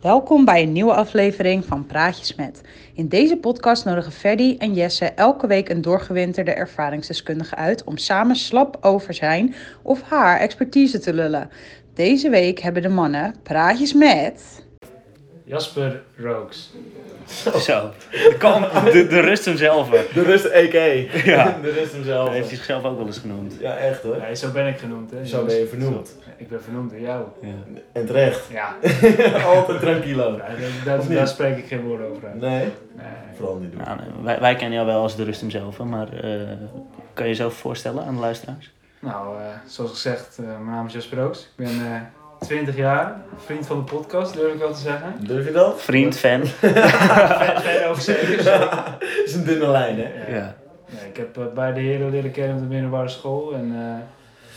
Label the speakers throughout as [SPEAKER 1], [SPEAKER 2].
[SPEAKER 1] Welkom bij een nieuwe aflevering van Praatjes met. In deze podcast nodigen Ferdy en Jesse elke week een doorgewinterde ervaringsdeskundige uit om samen slap over zijn of haar expertise te lullen. Deze week hebben de mannen Praatjes met.
[SPEAKER 2] Jasper Rooks.
[SPEAKER 3] Zo. De, kamp, de, de rust hemzelf. hè.
[SPEAKER 4] De rust EK.
[SPEAKER 3] Ja.
[SPEAKER 4] De rust
[SPEAKER 3] Dat
[SPEAKER 4] hemzelf.
[SPEAKER 3] heeft hij zichzelf ook wel eens genoemd.
[SPEAKER 4] Ja, echt hoor.
[SPEAKER 2] Nee, zo ben ik genoemd, hè?
[SPEAKER 4] Zo ben je vernoemd.
[SPEAKER 2] Ik ben vernoemd door jou.
[SPEAKER 3] Ja.
[SPEAKER 4] En terecht.
[SPEAKER 2] Ja,
[SPEAKER 4] Altijd tranquilo.
[SPEAKER 2] daar, daar-
[SPEAKER 4] Of niet?
[SPEAKER 2] daar spreek ik geen woorden over uit.
[SPEAKER 4] Nee,
[SPEAKER 2] Nee.
[SPEAKER 4] vooral niet doen.
[SPEAKER 3] Nou, nee, wij, wij kennen jou wel als de rust hemzelf, hè, maar eh, kan je jezelf voorstellen aan de luisteraars?
[SPEAKER 2] Nou, eh, zoals gezegd, eh, mijn naam is Jasper Rooks. Ik ben eh, 20 jaar, vriend van de podcast, durf ik wel te zeggen.
[SPEAKER 4] Durf je dat?
[SPEAKER 3] Vriend, fan.
[SPEAKER 2] Ver over zeker.
[SPEAKER 4] Dat is een dunne lijn hè.
[SPEAKER 3] Ja.
[SPEAKER 2] Nee, ik heb eh, beide heren leren kennen op de middelbare school en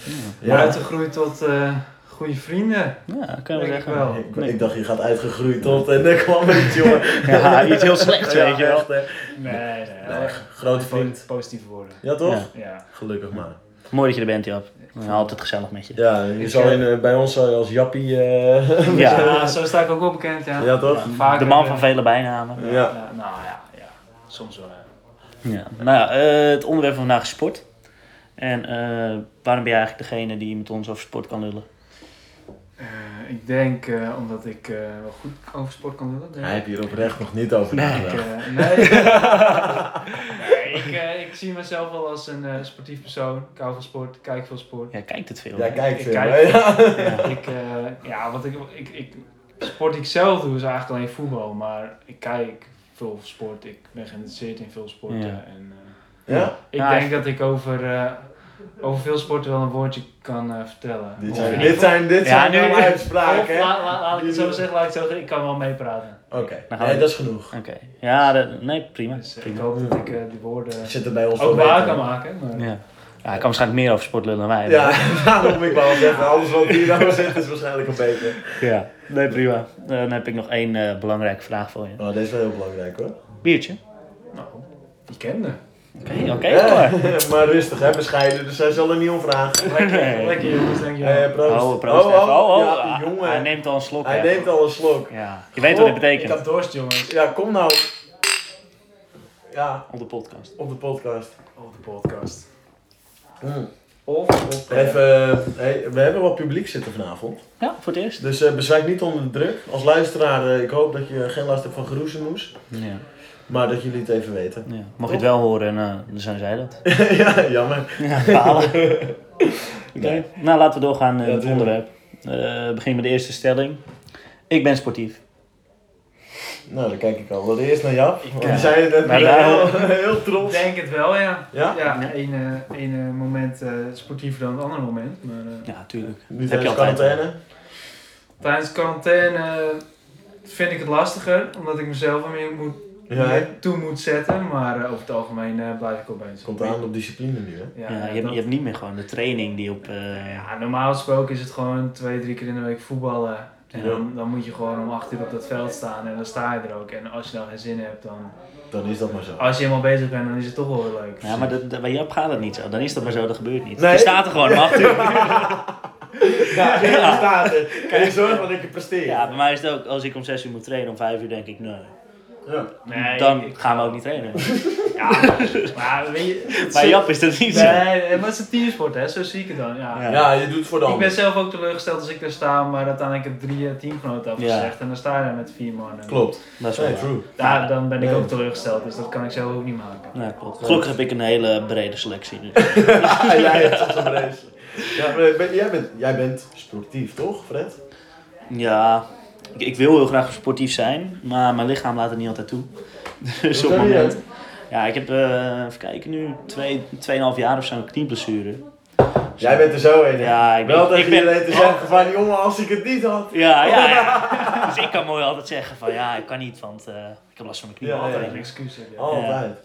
[SPEAKER 2] eh
[SPEAKER 4] Ja.
[SPEAKER 2] uitgegroeid tot eh, goede vrienden.
[SPEAKER 3] Ja, kan je
[SPEAKER 2] Denk
[SPEAKER 3] wel
[SPEAKER 2] ik
[SPEAKER 3] zeggen.
[SPEAKER 2] wel.
[SPEAKER 4] Ik, ik dacht je gaat uitgegroeid tot en dan kwam het jongen.
[SPEAKER 3] Ja, iets heel slechts,
[SPEAKER 4] Ja,
[SPEAKER 3] weet je wel.
[SPEAKER 4] echt, hè.
[SPEAKER 2] Nee, nee,
[SPEAKER 4] Nee,
[SPEAKER 2] erg
[SPEAKER 4] grote vriend.
[SPEAKER 2] Positieve woorden.
[SPEAKER 4] Ja toch?
[SPEAKER 3] Ja.
[SPEAKER 2] Ja.
[SPEAKER 4] Gelukkig maar.
[SPEAKER 3] Mooi dat je er bent, Jap. Altijd gezellig met je.
[SPEAKER 4] Ja, je
[SPEAKER 2] Ik,
[SPEAKER 4] zal
[SPEAKER 2] eh,
[SPEAKER 4] in, eh, bij ons zou je als Jappie... eh,
[SPEAKER 3] Ja.
[SPEAKER 2] Ja, Dus, zo sta ik ook wel bekend, ja.
[SPEAKER 4] ja toch?
[SPEAKER 2] Vaker,
[SPEAKER 3] De man
[SPEAKER 2] eh,
[SPEAKER 3] van vele bijnamen.
[SPEAKER 4] Ja.
[SPEAKER 2] Nou, nou ja, ja, soms wel. ja.
[SPEAKER 3] Ja. Nou ja, eh, het onderwerp van vandaag is sport. En eh, waarom ben je eigenlijk degene die met ons over sport kan lullen?
[SPEAKER 2] Eh, ik denk eh, omdat ik eh, wel goed over sport kan lullen. Denk
[SPEAKER 4] Hij
[SPEAKER 2] ik.
[SPEAKER 4] heeft hier oprecht nog niet over
[SPEAKER 2] Ik,
[SPEAKER 4] nagedacht.
[SPEAKER 2] eh, nee, nee ik, eh, ik zie mezelf wel als een eh, sportief persoon. Ik hou van sport, ik kijk veel sport.
[SPEAKER 3] Ja, kijkt het veel.
[SPEAKER 4] Ja,
[SPEAKER 3] hè?
[SPEAKER 4] kijk
[SPEAKER 2] Ik
[SPEAKER 4] veel.
[SPEAKER 2] kijk
[SPEAKER 4] hè. Ja.
[SPEAKER 2] Ik, eh, ja, wat ik, ik, ik, sport die ik zelf doe is eigenlijk alleen voetbal. Maar ik kijk veel sport, ik ben geïnteresseerd in veel sporten.
[SPEAKER 3] Ja.
[SPEAKER 2] En, eh,
[SPEAKER 4] Ja?
[SPEAKER 2] ik
[SPEAKER 3] Ja,
[SPEAKER 2] denk dat ik over, eh, over veel sporten wel een woordje kan eh, vertellen.
[SPEAKER 4] Dit
[SPEAKER 2] Of
[SPEAKER 4] zijn,
[SPEAKER 2] in
[SPEAKER 4] dit
[SPEAKER 2] ieder
[SPEAKER 4] zijn, dit
[SPEAKER 3] Ja,
[SPEAKER 4] zijn
[SPEAKER 3] nu-
[SPEAKER 4] wel uitspraken
[SPEAKER 2] Of,
[SPEAKER 4] hè.
[SPEAKER 2] laat, laat, laat ik het zo zeggen, laat ik het zo zeggen, ik kan wel meepraten.
[SPEAKER 4] Oké,
[SPEAKER 3] Nou,
[SPEAKER 4] nee dat is genoeg.
[SPEAKER 3] Oké. Ja, dat- nee, prima.
[SPEAKER 2] Dus eh, ik
[SPEAKER 3] prima.
[SPEAKER 2] hoop dat ik eh, die woorden
[SPEAKER 4] Zit er bij ons wel
[SPEAKER 2] ook waar
[SPEAKER 4] beter.
[SPEAKER 2] kan maken. Maar...
[SPEAKER 3] Ja. ja, hij kan waarschijnlijk meer over sport lullen dan wij.
[SPEAKER 4] Ja, daarom ik wou zeggen, alles wat hier nou zit is waarschijnlijk een beter.
[SPEAKER 3] Ja, nee, prima. Dan heb ik nog één eh, belangrijke vraag voor je.
[SPEAKER 4] Oh, deze is wel heel belangrijk hoor.
[SPEAKER 3] Biertje?
[SPEAKER 2] Nou, die kende.
[SPEAKER 3] Oké, oké.
[SPEAKER 4] Ja,
[SPEAKER 3] klaar.
[SPEAKER 4] maar rustig hè, bescheiden, dus hij zal er niet om vragen.
[SPEAKER 2] Lekker, lekker jongens, dankjewel.
[SPEAKER 4] Hé, proost.
[SPEAKER 3] Oh, proost.
[SPEAKER 4] Oh,
[SPEAKER 3] even.
[SPEAKER 4] oh,
[SPEAKER 3] Oh, oh,
[SPEAKER 4] ja,
[SPEAKER 3] ah,
[SPEAKER 4] jongen.
[SPEAKER 3] Hij neemt al een slok.
[SPEAKER 4] Hij
[SPEAKER 3] hè.
[SPEAKER 4] neemt al een slok.
[SPEAKER 3] Ja, je weet wat dit
[SPEAKER 4] Oh,
[SPEAKER 2] Ik
[SPEAKER 3] betekent.
[SPEAKER 2] had dorst jongens.
[SPEAKER 4] Ja, kom nou. Ja,
[SPEAKER 3] Op de podcast.
[SPEAKER 4] op de podcast.
[SPEAKER 2] Op de podcast.
[SPEAKER 4] Mm.
[SPEAKER 2] Of op... eh,
[SPEAKER 4] Even, eh, hey, we hebben wat publiek zitten vanavond.
[SPEAKER 3] Ja, voor het eerst.
[SPEAKER 4] Dus eh bezwijk niet onder de druk. Als luisteraar, eh, ik hoop dat je geen last hebt van geroezemoes.
[SPEAKER 3] Ja,
[SPEAKER 4] Maar dat jullie het even weten.
[SPEAKER 3] ja. Mocht je het wel horen, nou, dan zijn zij dat.
[SPEAKER 4] ja, jammer.
[SPEAKER 3] Ja, balen. Oké, nou laten we doorgaan met
[SPEAKER 4] Ja,
[SPEAKER 3] het
[SPEAKER 4] doe
[SPEAKER 3] onderwerp. Eh begin met de eerste stelling. Ik ben sportief.
[SPEAKER 4] Nou, dan kijk ik al. Wel eerst naar Jap. Want die
[SPEAKER 3] Ja.
[SPEAKER 4] zei het net
[SPEAKER 3] eh, Maar
[SPEAKER 4] heel,
[SPEAKER 3] daarom-
[SPEAKER 4] heel
[SPEAKER 2] Ik
[SPEAKER 4] trots.
[SPEAKER 2] denk het wel, ja.
[SPEAKER 4] Ja?
[SPEAKER 2] Ja, één eh, één, eh, moment eh, sportiever dan het andere moment. Maar eh,
[SPEAKER 3] Ja, tuurlijk.
[SPEAKER 4] Nu
[SPEAKER 3] Heb je
[SPEAKER 4] tijdens
[SPEAKER 3] altijd.
[SPEAKER 4] quarantaine.
[SPEAKER 2] tijdens quarantaine eh, vind ik het lastiger, omdat ik mezelf er meer moet,
[SPEAKER 4] Ja,
[SPEAKER 2] meer toe moet zetten. Maar eh, over het algemeen eh, blijf ik op bezig.
[SPEAKER 4] het komt aan op discipline nu, hè?
[SPEAKER 3] Ja,
[SPEAKER 2] Ja, ja,
[SPEAKER 3] je, hebt,
[SPEAKER 2] dat-
[SPEAKER 3] je hebt niet meer gewoon de training die op... eh,
[SPEAKER 2] Ja, normaal gesproken is het gewoon twee, drie keer in de week voetballen. En
[SPEAKER 4] Ja.
[SPEAKER 2] dan, dan moet je gewoon om acht uur op dat veld staan en dan sta je er ook. En als je dan geen zin hebt, dan...
[SPEAKER 4] Dan is dat maar
[SPEAKER 3] Ah.
[SPEAKER 4] zo.
[SPEAKER 2] Als je helemaal bezig bent, dan is het toch wel weer leuk.
[SPEAKER 3] Ja, maar dat, dat- bij Jap gaat het niet zo. Dan is dat maar zo, dat gebeurt niet.
[SPEAKER 4] Nee.
[SPEAKER 3] Je staat er gewoon om acht uur.
[SPEAKER 4] Ja, in de staten. Kan je zorgen dat ik je presteer?
[SPEAKER 3] Ja, bij mij is het ook, als ik om 6 uur moet trainen, om 5 uur denk ik, nee.
[SPEAKER 4] Ja.
[SPEAKER 2] Nee,
[SPEAKER 3] dan
[SPEAKER 2] ik-
[SPEAKER 3] gaan we ook niet trainen.
[SPEAKER 2] Ja, maar weet je...
[SPEAKER 3] Bij Jap is dat niet zo.
[SPEAKER 2] Nee, maar het is een teamsport, hè. Zo zie ik het dan, ja.
[SPEAKER 3] Ja.
[SPEAKER 4] Ja, je doet het voor de
[SPEAKER 2] Ik ben
[SPEAKER 4] ander.
[SPEAKER 2] zelf ook teleurgesteld als ik daar sta, maar uiteindelijk heb drie eh, teamgenoten afgezegd. En dan sta je daar met vier man. En
[SPEAKER 4] Klopt.
[SPEAKER 3] Dat is wel
[SPEAKER 4] Nee,
[SPEAKER 3] waar.
[SPEAKER 4] true.
[SPEAKER 2] Daar, dan ben ik
[SPEAKER 4] Nee.
[SPEAKER 2] ook teleurgesteld, dus dat kan ik zelf ook niet maken.
[SPEAKER 3] Ja, Nou, klopt. Gelukkig heb ik een hele brede selectie nu.
[SPEAKER 4] Ja, Ah, jij hebt het een race. Ja, maar ben- jij, bent, jij bent sportief, toch, Fred?
[SPEAKER 3] Ja, ik, ik wil heel graag sportief zijn, maar mijn lichaam laat het niet altijd toe. Dus op het
[SPEAKER 4] doe je?
[SPEAKER 3] moment. Ja, ik heb, eh, even kijken nu, 2,5 jaar of zo een knieblessure.
[SPEAKER 4] Jij bent er zo een. hè?
[SPEAKER 3] Ja, ik ben-
[SPEAKER 4] Wel dat
[SPEAKER 3] ik
[SPEAKER 4] je
[SPEAKER 3] ben- Oh.
[SPEAKER 4] iedereen te zeggen van, jongen, als ik het niet had.
[SPEAKER 3] Ja, ja, ja. Dus ik kan mooi altijd zeggen van ja, ik kan niet, want eh, ik heb last van mijn knie.
[SPEAKER 4] Ja,
[SPEAKER 3] altijd.
[SPEAKER 2] Een excuus heb je.
[SPEAKER 4] Altijd.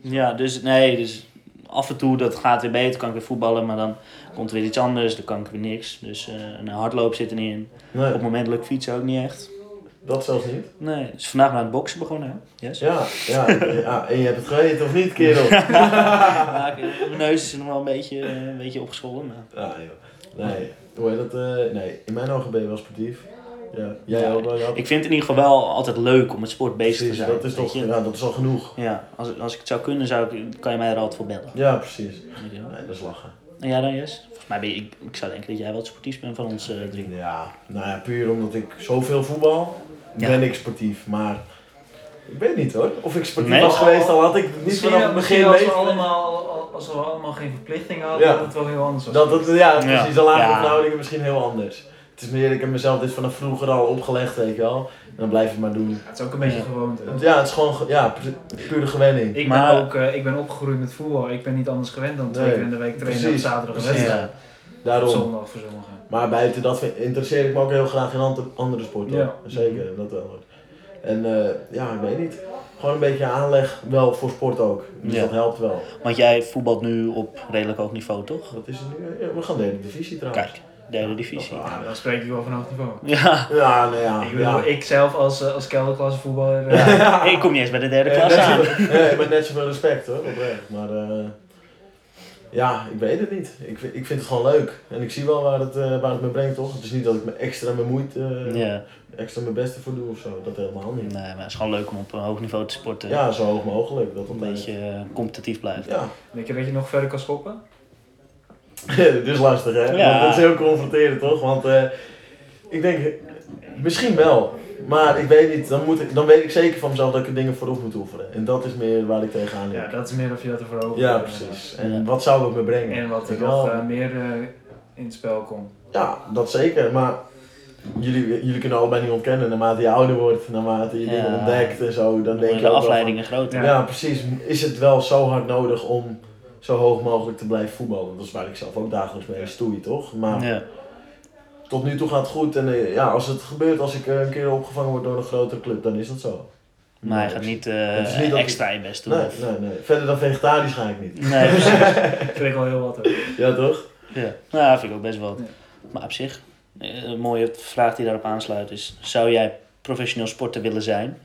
[SPEAKER 3] Ja, dus nee, dus af en toe dat gaat weer beter, kan ik weer voetballen, maar dan komt er weer iets anders, dan kan ik weer niks. Dus eh, een hardloop zit er niet in. Op
[SPEAKER 4] Nee,
[SPEAKER 3] het moment lukt fietsen ook niet echt.
[SPEAKER 4] dat zelfs niet.
[SPEAKER 3] Nee, dus vandaag maar aan het boksen begonnen, hè? Yes.
[SPEAKER 4] Ja, ja, ja. En je hebt het geweten of niet, kerel?
[SPEAKER 3] Ja, ik- eh, mijn neus is nog wel een beetje, eh, een beetje opgeschollen, maar...
[SPEAKER 4] Ah, joh. Nee, hoe heet dat? eh, nee, in mijn ogen ben je wel sportief. Ja, jij ook wel, ja.
[SPEAKER 3] Ik vind het in ieder geval wel altijd leuk om met sport bezig te
[SPEAKER 4] Precies,
[SPEAKER 3] zijn.
[SPEAKER 4] dat is
[SPEAKER 3] weet
[SPEAKER 4] toch,
[SPEAKER 3] je.
[SPEAKER 4] ja, dat is al genoeg.
[SPEAKER 3] Ja, als, als ik het zou kunnen, zou ik, kan je mij er altijd voor bellen.
[SPEAKER 4] Ja, precies.
[SPEAKER 3] Weet je wel.
[SPEAKER 4] Nee, dat is lachen.
[SPEAKER 3] En jij dan, Jes? Volgens mij ben je, ik, ik zou denken dat jij wel het sportiefst bent van ons eh, drie.
[SPEAKER 4] Ja, nou ja, puur omdat ik zoveel voetbal,
[SPEAKER 3] Ja.
[SPEAKER 4] ben ik sportief. Maar ik weet niet hoor. Of ik sportief
[SPEAKER 3] Nee.
[SPEAKER 4] was geweest, al had ik niet
[SPEAKER 2] Misschien,
[SPEAKER 4] vanaf het begin
[SPEAKER 2] misschien als, we
[SPEAKER 4] leeftijd.
[SPEAKER 2] allemaal, als we allemaal geen verplichting hadden,
[SPEAKER 4] Ja.
[SPEAKER 2] dat het wel heel anders was.
[SPEAKER 4] Dat, dat, ja, precies.
[SPEAKER 3] Ja.
[SPEAKER 4] Dan lagen de
[SPEAKER 3] Ja.
[SPEAKER 4] verhoudingen misschien heel anders. Het is meer, ik heb mezelf dit vanaf vroeger al opgelegd, weet je wel. En dan blijf ik maar doen.
[SPEAKER 2] Ja, het is ook een beetje
[SPEAKER 3] Ja.
[SPEAKER 2] gewoonte.
[SPEAKER 4] Want Ja, het is gewoon, ge- ja, pu- pure gewenning.
[SPEAKER 2] Ik,
[SPEAKER 3] Maar-
[SPEAKER 2] ben ook, eh, ik ben opgegroeid met voetbal. Ik ben niet anders gewend dan twee
[SPEAKER 4] Nee,
[SPEAKER 2] keer in de week trainen
[SPEAKER 4] precies,
[SPEAKER 2] op zaterdag een
[SPEAKER 4] precies.
[SPEAKER 2] wedstrijd. Op
[SPEAKER 4] Daarom.
[SPEAKER 2] zondag voor sommigen.
[SPEAKER 4] Maar buiten dat vind- interesseer ik me ook heel graag in ant- andere sporten.
[SPEAKER 2] Ja.
[SPEAKER 3] Mhm.
[SPEAKER 4] Zeker, dat wel. En eh, ja, ik weet niet. Gewoon een beetje aanleg wel voor sport ook. Dus
[SPEAKER 3] Ja.
[SPEAKER 4] dat helpt wel.
[SPEAKER 3] Want jij voetbalt nu op redelijk hoog niveau, toch?
[SPEAKER 4] Wat is het nu? Ja, we gaan derde divisie trouwens.
[SPEAKER 3] Kijk, derde divisie.
[SPEAKER 4] Ja.
[SPEAKER 2] Ja, dan spreek ik wel van hoog niveau.
[SPEAKER 3] Ja,
[SPEAKER 4] Ja, nou ja.
[SPEAKER 2] Ik bedoel,
[SPEAKER 4] ja.
[SPEAKER 2] ik zelf als, eh, als kelderklasse voetballer... eh,
[SPEAKER 3] ik kom niet eens bij de derde
[SPEAKER 4] Eh,
[SPEAKER 3] klas
[SPEAKER 4] net
[SPEAKER 3] aan.
[SPEAKER 4] zoveel- nee, maar net zoveel respect hoor, oprecht. Maar eh, ja, ik weet het niet. Ik, vind- ik vind het gewoon leuk. En ik zie wel waar het, eh, waar het me brengt, toch? Het is niet dat ik me extra bemoeit, eh
[SPEAKER 3] Ja,
[SPEAKER 4] extra mijn best ervoor doe of zo. Dat helemaal niet.
[SPEAKER 3] nee, maar het is gewoon leuk om op een hoog niveau te sporten.
[SPEAKER 4] Ja, zo hoog mogelijk. Dat
[SPEAKER 3] Een
[SPEAKER 4] altijd.
[SPEAKER 3] beetje eh, competitief blijven.
[SPEAKER 4] Ja,
[SPEAKER 2] Denk je dat je nog verder kan schoppen?
[SPEAKER 4] dit is lastig hè.
[SPEAKER 3] Ja.
[SPEAKER 4] Dat is heel confronterend toch? Want eh, ik denk, misschien wel. Maar ik weet niet, dan, moet ik, dan weet ik zeker van mezelf dat ik er dingen voor op moet oefenen. En dat is meer waar ik tegenaan
[SPEAKER 2] Ja,
[SPEAKER 4] liep.
[SPEAKER 2] dat is meer of je dat ervoor over
[SPEAKER 4] Ja,
[SPEAKER 2] hebt.
[SPEAKER 4] precies. En
[SPEAKER 3] Ja.
[SPEAKER 4] wat zou het me brengen?
[SPEAKER 2] En wat er
[SPEAKER 4] Ik wel.
[SPEAKER 2] nog eh, meer eh, in het spel komt.
[SPEAKER 4] Ja, dat zeker. Maar jullie, jullie kunnen allebei niet ontkennen. Naarmate je ouder wordt, naarmate je dingen
[SPEAKER 3] Ja.
[SPEAKER 4] ontdekt en zo, dan
[SPEAKER 3] Dan
[SPEAKER 4] denk je
[SPEAKER 3] worden
[SPEAKER 4] ook
[SPEAKER 3] de
[SPEAKER 4] wel
[SPEAKER 3] afleidingen
[SPEAKER 4] van-
[SPEAKER 3] groter.
[SPEAKER 4] ja. precies. Is het wel zo hard nodig om zo hoog mogelijk te blijven voetballen? Dat is waar ik zelf ook dagelijks mee stoei, toch? Maar
[SPEAKER 3] Ja.
[SPEAKER 4] tot nu toe gaat het goed. En eh, ja, als het gebeurt, als ik eh, een keer opgevangen word door een grotere club, dan is dat zo.
[SPEAKER 3] Maar hij gaat niet, eh,
[SPEAKER 4] Het is niet dat ik-
[SPEAKER 3] extra je best doen.
[SPEAKER 4] Nee,
[SPEAKER 3] of-
[SPEAKER 4] nee, nee. Verder dan vegetarisch ga ik niet.
[SPEAKER 3] Nee, precies.
[SPEAKER 2] Dat vind ik wel heel wat. hoor.
[SPEAKER 4] Ja, toch?
[SPEAKER 3] Ja, nou, dat vind ik ook best wel.
[SPEAKER 2] Ja.
[SPEAKER 3] Maar op zich, eh, een mooie vraag die daarop aansluit is: zou jij professioneel sporter willen zijn?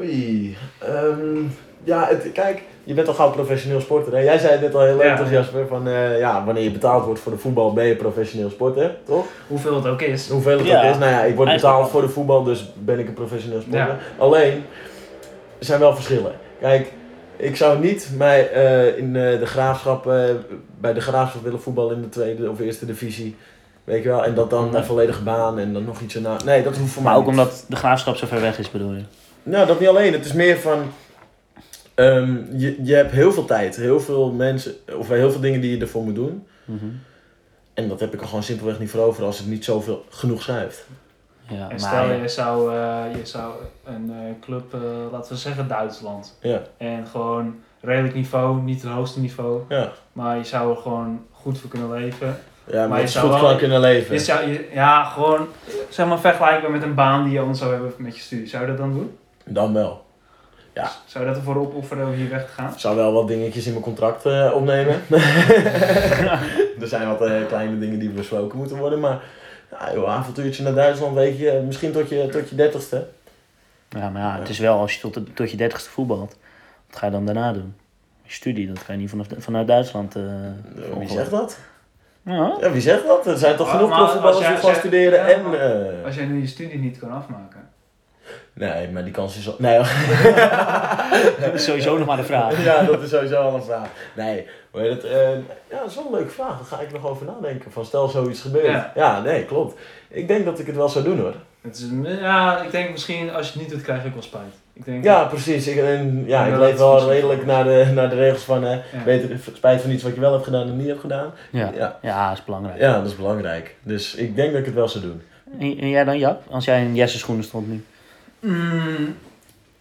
[SPEAKER 4] Oei. Ehm, ja, het- kijk, je bent al gauw professioneel sporter. Hè? Jij zei het net al heel leuk,
[SPEAKER 2] Ja.
[SPEAKER 4] toch Jasper? Van, eh, ja, wanneer je betaald wordt voor de voetbal, ben je professioneel sporter, toch?
[SPEAKER 2] Hoeveel het ook is.
[SPEAKER 4] Hoeveel het
[SPEAKER 3] Ja.
[SPEAKER 4] ook is. Nou ja, ik word
[SPEAKER 3] Eigenlijk
[SPEAKER 4] betaald
[SPEAKER 3] wel.
[SPEAKER 4] voor de voetbal, dus ben ik een professioneel sporter.
[SPEAKER 2] Ja.
[SPEAKER 4] Alleen, er zijn wel verschillen. Kijk, ik zou niet mij eh, in eh, de graafschap, eh, bij de graafschap willen voetballen in de tweede of eerste divisie. Weet je wel? En dat dan
[SPEAKER 3] Nee.
[SPEAKER 4] een volledige baan en dan nog iets erna. Nee, dat hoeft voor mij
[SPEAKER 3] Maar ook
[SPEAKER 4] niet.
[SPEAKER 3] omdat de graafschap zo ver weg is, bedoel je?
[SPEAKER 4] Nou, dat niet alleen. Het is meer van. ehm, je, je hebt heel veel tijd, heel veel mensen, of heel veel dingen die je ervoor moet doen. En dat heb ik er gewoon simpelweg niet voor over als het niet zoveel genoeg schuift.
[SPEAKER 3] Ja,
[SPEAKER 2] En stel
[SPEAKER 3] maar,
[SPEAKER 2] je zou, eh, je zou een eh, club, eh, laten we zeggen Duitsland.
[SPEAKER 4] Ja.
[SPEAKER 2] En gewoon redelijk niveau, niet het hoogste niveau.
[SPEAKER 4] Ja,
[SPEAKER 2] Maar je zou er gewoon goed voor kunnen leven.
[SPEAKER 4] ja
[SPEAKER 2] Maar
[SPEAKER 4] maar, het
[SPEAKER 2] je
[SPEAKER 4] is
[SPEAKER 2] zou
[SPEAKER 4] goed
[SPEAKER 2] wel-
[SPEAKER 4] gewoon kunnen leven.
[SPEAKER 2] Je zou, je- ja, gewoon zeg maar vergelijkbaar met een baan die je anders zou hebben met je studie. Zou je dat dan doen?
[SPEAKER 4] Dan wel. Ja.
[SPEAKER 2] Zou je dat ervoor opofferen om hier weg te gaan?
[SPEAKER 4] Ik zou wel wat dingetjes in mijn contract eh, opnemen. er zijn wat eh, kleine dingen die besproken moeten worden, maar. Ja, joh, avontuurtje naar Duitsland, weet je, misschien tot je, tot je dertigste. Eh,
[SPEAKER 3] ja, maar ja, het is wel als je tot, de- tot je dertigste voetbalt, wat ga je dan daarna doen? Je studie, dat kan je niet vanaf, vanuit Duitsland. eh
[SPEAKER 4] Wie
[SPEAKER 3] volgen.
[SPEAKER 4] zegt dat?
[SPEAKER 3] Ja.
[SPEAKER 4] Ja, wie zegt dat? Er zijn toch
[SPEAKER 2] Oh,
[SPEAKER 4] genoeg
[SPEAKER 2] maar als
[SPEAKER 4] profvoetballers die
[SPEAKER 2] jij-
[SPEAKER 4] gewoon
[SPEAKER 2] als jij-
[SPEAKER 4] studeren
[SPEAKER 2] ja,
[SPEAKER 4] en...
[SPEAKER 2] maar-
[SPEAKER 4] eh,
[SPEAKER 2] Als jij nu je studie niet kan afmaken.
[SPEAKER 4] Nee, maar die kans is al... Nee, hoor.
[SPEAKER 3] Dat is sowieso nog maar de vraag.
[SPEAKER 4] ja, dat is sowieso al een vraag. Nee, hoe heet het? eh, ja, dat is wel een leuke vraag. Daar ga ik nog over nadenken. Van stel zoiets gebeurt. Ja.
[SPEAKER 2] Ja.
[SPEAKER 4] nee, klopt. Ik denk dat ik het wel zou doen hoor.
[SPEAKER 2] Het is, ja, ik denk misschien als je het niet doet, krijg je ook wel spijt. Ik denk,
[SPEAKER 4] Ja, precies. Ik, en, ja,
[SPEAKER 2] Ja,
[SPEAKER 4] ik
[SPEAKER 2] dat
[SPEAKER 4] leef
[SPEAKER 2] is
[SPEAKER 4] wel
[SPEAKER 2] misschien-
[SPEAKER 4] redelijk naar de, naar de regels van eh,
[SPEAKER 2] Ja.
[SPEAKER 4] beter spijt van iets wat je wel hebt gedaan en niet hebt gedaan.
[SPEAKER 3] Ja,
[SPEAKER 4] Ja.
[SPEAKER 3] ja dat is belangrijk.
[SPEAKER 4] Ja, dat is belangrijk. Dus ik denk dat ik het wel zou doen.
[SPEAKER 3] En, en jij dan, Jap? Als jij in Jesse schoenen stond nu?
[SPEAKER 2] Mm,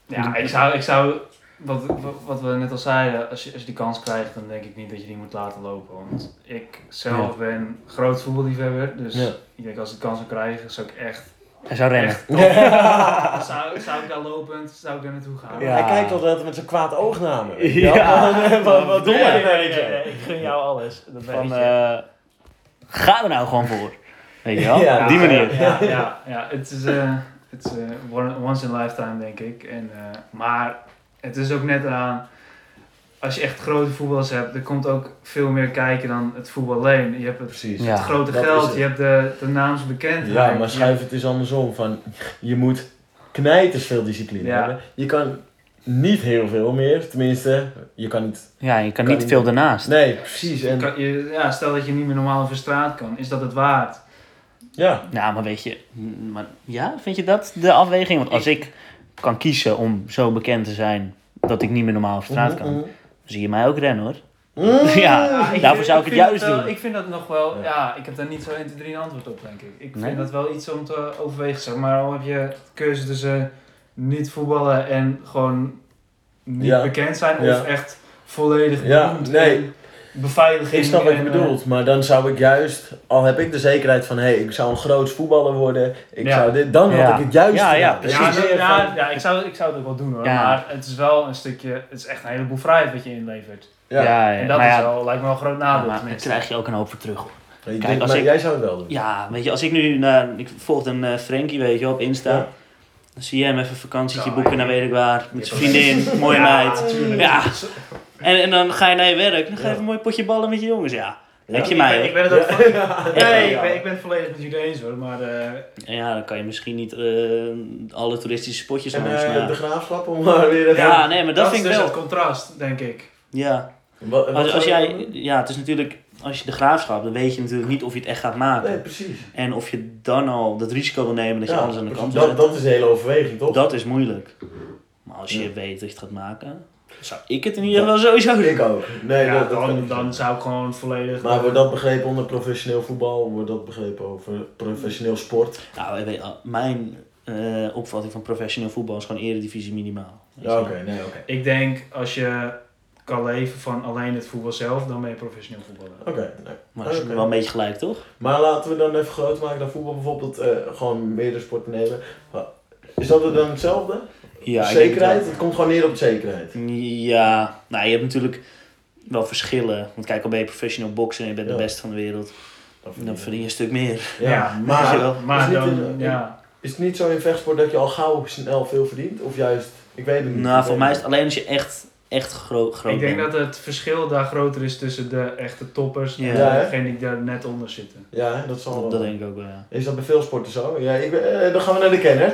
[SPEAKER 2] ja, ik zou, ik zou wat, wat- wat we net al zeiden, als je, als je die kans krijgt, dan denk ik niet dat je die moet laten lopen. Want ik zelf ben groot voetballiefhebber, dus
[SPEAKER 4] Ja.
[SPEAKER 2] ik denk als ik de kans zou krijgen, zou ik echt,
[SPEAKER 3] Hij zou rennen.
[SPEAKER 2] echt top- zou, zou ik daar lopend, zou ik daar naartoe gaan.
[SPEAKER 3] Ja.
[SPEAKER 4] Hij kijkt altijd met zo'n kwaad oog naar me.
[SPEAKER 3] Ja.
[SPEAKER 4] wat, wat, wat doe
[SPEAKER 2] Nee,
[SPEAKER 4] je
[SPEAKER 2] nee,
[SPEAKER 4] nou,
[SPEAKER 2] nee,
[SPEAKER 4] weet je?
[SPEAKER 2] nee, ik gun jou alles. Dat weet
[SPEAKER 3] Van,
[SPEAKER 2] je.
[SPEAKER 3] eh, ga er nou gewoon voor. Weet je wel?
[SPEAKER 4] Ja,
[SPEAKER 3] op die manier.
[SPEAKER 2] Ja, ja, ja. Het is, eh, het is eh, one- once in a lifetime, denk ik. En, eh, maar het is ook net aan, als je echt grote voetballers hebt, er komt ook veel meer kijken dan het voetbal alleen. Je hebt het,
[SPEAKER 4] Precies.
[SPEAKER 3] Ja.
[SPEAKER 2] het grote
[SPEAKER 4] dat is
[SPEAKER 2] geld,
[SPEAKER 4] het.
[SPEAKER 2] je hebt de, de naamsbekendheid.
[SPEAKER 4] Ja, maar schuif het eens andersom. Van, je moet knijters veel discipline
[SPEAKER 2] Ja.
[SPEAKER 4] hebben. Je kan niet heel veel meer. Tenminste, je kan niet...
[SPEAKER 3] Ja, je kan
[SPEAKER 4] Kan
[SPEAKER 3] niet
[SPEAKER 4] niet.
[SPEAKER 3] veel daarnaast.
[SPEAKER 4] Nee, precies. En,
[SPEAKER 2] Kan je- ja, stel dat je niet meer normaal over straat kan, is dat het waard?
[SPEAKER 4] ja.
[SPEAKER 3] Nou, maar weet je, m- maar, ja, vind je dat de afweging? Want als ik kan kiezen om zo bekend te zijn dat ik niet meer normaal op straat kan, dan
[SPEAKER 4] Mm,
[SPEAKER 3] zie je mij ook rennen hoor.
[SPEAKER 4] mm, mm.
[SPEAKER 3] Ja,
[SPEAKER 2] Ah, ik
[SPEAKER 3] daarvoor
[SPEAKER 2] vind-
[SPEAKER 3] zou ik het
[SPEAKER 2] vind
[SPEAKER 3] juist
[SPEAKER 2] wel-
[SPEAKER 3] doen.
[SPEAKER 2] Ik vind dat nog wel,
[SPEAKER 4] Ja.
[SPEAKER 2] ja. ik heb daar niet zo 1, 2, 3 een antwoord op, denk ik. Ik
[SPEAKER 3] Nee?
[SPEAKER 2] vind dat wel iets om te overwegen, zeg maar. Al heb je keuze tussen niet voetballen en gewoon niet
[SPEAKER 4] Ja.
[SPEAKER 2] bekend zijn, of
[SPEAKER 4] Ja.
[SPEAKER 2] echt volledig
[SPEAKER 4] Ja,
[SPEAKER 2] beroemd
[SPEAKER 4] nee.
[SPEAKER 2] en beveiliging.
[SPEAKER 4] Ik snap wat je
[SPEAKER 2] en, eh,
[SPEAKER 4] bedoelt, maar dan zou ik juist, al heb ik de zekerheid van hé, ik zou een groot voetballer worden, ik
[SPEAKER 2] Ja.
[SPEAKER 4] zou dit, dan
[SPEAKER 3] Ja.
[SPEAKER 4] had ik het juist.
[SPEAKER 3] Ja, ja,
[SPEAKER 4] gedaan.
[SPEAKER 3] precies.
[SPEAKER 2] Ja,
[SPEAKER 4] Niet
[SPEAKER 2] nou,
[SPEAKER 4] meer
[SPEAKER 2] ja,
[SPEAKER 4] van-
[SPEAKER 2] ja, ik, zou, ik zou het ook wel doen hoor.
[SPEAKER 3] Ja.
[SPEAKER 2] Maar het is wel een stukje, het is echt een heleboel vrijheid wat je inlevert.
[SPEAKER 4] ja.
[SPEAKER 3] ja,
[SPEAKER 2] En dat
[SPEAKER 3] maar
[SPEAKER 2] is
[SPEAKER 3] ja,
[SPEAKER 2] wel, lijkt me wel een groot
[SPEAKER 3] ja,
[SPEAKER 2] nadeel.
[SPEAKER 3] maar daar
[SPEAKER 2] tenminste.
[SPEAKER 3] krijg je ook een hoop voor terug. hoor.
[SPEAKER 4] Ik
[SPEAKER 3] Kijk,
[SPEAKER 4] denk,
[SPEAKER 3] als
[SPEAKER 4] maar
[SPEAKER 3] ik-
[SPEAKER 4] jij zou het wel doen.
[SPEAKER 3] Ja, weet je, als ik nu naar. Ik volg een eh Frankie, weet je, op Insta.
[SPEAKER 4] Ja.
[SPEAKER 3] Dan zie je hem even vakantietje
[SPEAKER 2] Ja,
[SPEAKER 3] boeken
[SPEAKER 2] ja.
[SPEAKER 3] naar weet ik waar. Met
[SPEAKER 2] Ja,
[SPEAKER 3] zijn vriendin, mooie
[SPEAKER 2] Ja,
[SPEAKER 3] meid.
[SPEAKER 2] tuurlijk.
[SPEAKER 3] Ja. En, en dan ga je naar je werk. Dan ga je
[SPEAKER 4] Ja.
[SPEAKER 3] even een mooi potje ballen met je jongens, ja.
[SPEAKER 4] Ja.
[SPEAKER 3] Lijkt je
[SPEAKER 2] Ik
[SPEAKER 3] mij,
[SPEAKER 2] ben,
[SPEAKER 3] hoor.
[SPEAKER 2] ik ben het ook van-
[SPEAKER 3] Ja,
[SPEAKER 2] Nee, ik
[SPEAKER 3] ja.
[SPEAKER 2] ben, ik ben het volledig met jullie eens hoor, maar eh,
[SPEAKER 3] Ja, dan kan je misschien niet eh, alle toeristische spotjes
[SPEAKER 4] En
[SPEAKER 3] langs.
[SPEAKER 4] eh,
[SPEAKER 3] maar-
[SPEAKER 4] de graafschap om maar weer even-
[SPEAKER 3] Ja, nee, maar dat, vind
[SPEAKER 2] is
[SPEAKER 3] ik
[SPEAKER 2] dus
[SPEAKER 3] wel.
[SPEAKER 2] het contrast, denk ik.
[SPEAKER 3] Ja.
[SPEAKER 4] Wat- wat
[SPEAKER 3] Als, als
[SPEAKER 4] zou je
[SPEAKER 3] jij,
[SPEAKER 4] doen?
[SPEAKER 3] ja, het is natuurlijk. Als je de graafschap, dan weet je natuurlijk niet of je het echt gaat maken.
[SPEAKER 4] Nee, precies.
[SPEAKER 3] En of je dan al dat risico wil nemen dat je
[SPEAKER 4] Ja,
[SPEAKER 3] alles aan de kant
[SPEAKER 4] dat, dat is de hele overweging, toch?
[SPEAKER 3] Dat is moeilijk. Maar als je
[SPEAKER 4] Ja.
[SPEAKER 3] weet dat je het gaat maken, zou ik het in ieder geval sowieso doen.
[SPEAKER 4] Ik ook. Nee,
[SPEAKER 2] ja,
[SPEAKER 4] dat, dat kan
[SPEAKER 2] dan,
[SPEAKER 4] ik
[SPEAKER 2] dan
[SPEAKER 4] niet.
[SPEAKER 2] zou ik gewoon volledig.
[SPEAKER 4] Maar wordt dat begrepen onder professioneel voetbal? Wordt dat begrepen over professioneel sport?
[SPEAKER 3] Nou, ik weet al, mijn eh, opvatting van professioneel voetbal is gewoon eredivisie minimaal. Weet
[SPEAKER 4] Ja,
[SPEAKER 3] je.
[SPEAKER 4] oké. nee, oké.
[SPEAKER 2] Ik denk als je kan leven van alleen het voetbal zelf, dan ben je professioneel voetballer.
[SPEAKER 4] Oké, nee.
[SPEAKER 3] Maar dat is
[SPEAKER 4] Oké.
[SPEAKER 3] wel een beetje gelijk, toch?
[SPEAKER 4] Maar laten we dan even groot maken dat voetbal bijvoorbeeld eh, gewoon meerdere sporten nemen. Maar Is dat het dan hetzelfde?
[SPEAKER 3] Ja, ik denk het
[SPEAKER 4] zekerheid? Het, komt gewoon neer op zekerheid.
[SPEAKER 3] wel. Ja, nou, je hebt natuurlijk wel verschillen. Want kijk, al ben je professioneel boksen en je bent
[SPEAKER 4] Ja.
[SPEAKER 3] de beste van de wereld,
[SPEAKER 4] Dat vind
[SPEAKER 3] dan
[SPEAKER 4] ik.
[SPEAKER 3] verdien je een stuk meer.
[SPEAKER 4] Ja,
[SPEAKER 3] weet je wel.
[SPEAKER 4] maar
[SPEAKER 2] maar
[SPEAKER 4] is niet
[SPEAKER 2] dan,
[SPEAKER 4] in-
[SPEAKER 2] ja.
[SPEAKER 4] is het niet zo in vechtsport dat je al gauw snel veel verdient? Of juist, ik weet het niet.
[SPEAKER 3] Nou,
[SPEAKER 4] Ik
[SPEAKER 3] voor
[SPEAKER 4] weet
[SPEAKER 3] mij is
[SPEAKER 4] het
[SPEAKER 3] het alleen als je echt, echt gro groot
[SPEAKER 2] Ik denk
[SPEAKER 3] bent.
[SPEAKER 2] dat het verschil daar groter is tussen de echte toppers
[SPEAKER 3] Ja.
[SPEAKER 2] en
[SPEAKER 4] Ja, hè?
[SPEAKER 2] degenen die daar net onder zitten.
[SPEAKER 4] niet. Ja, hè, dat zal wel.
[SPEAKER 3] Dat, dat denk ik ook wel, ja.
[SPEAKER 4] Is dat bij veel sporten zo? Ja, ik, ben- eh, dan gaan we naar de kenner.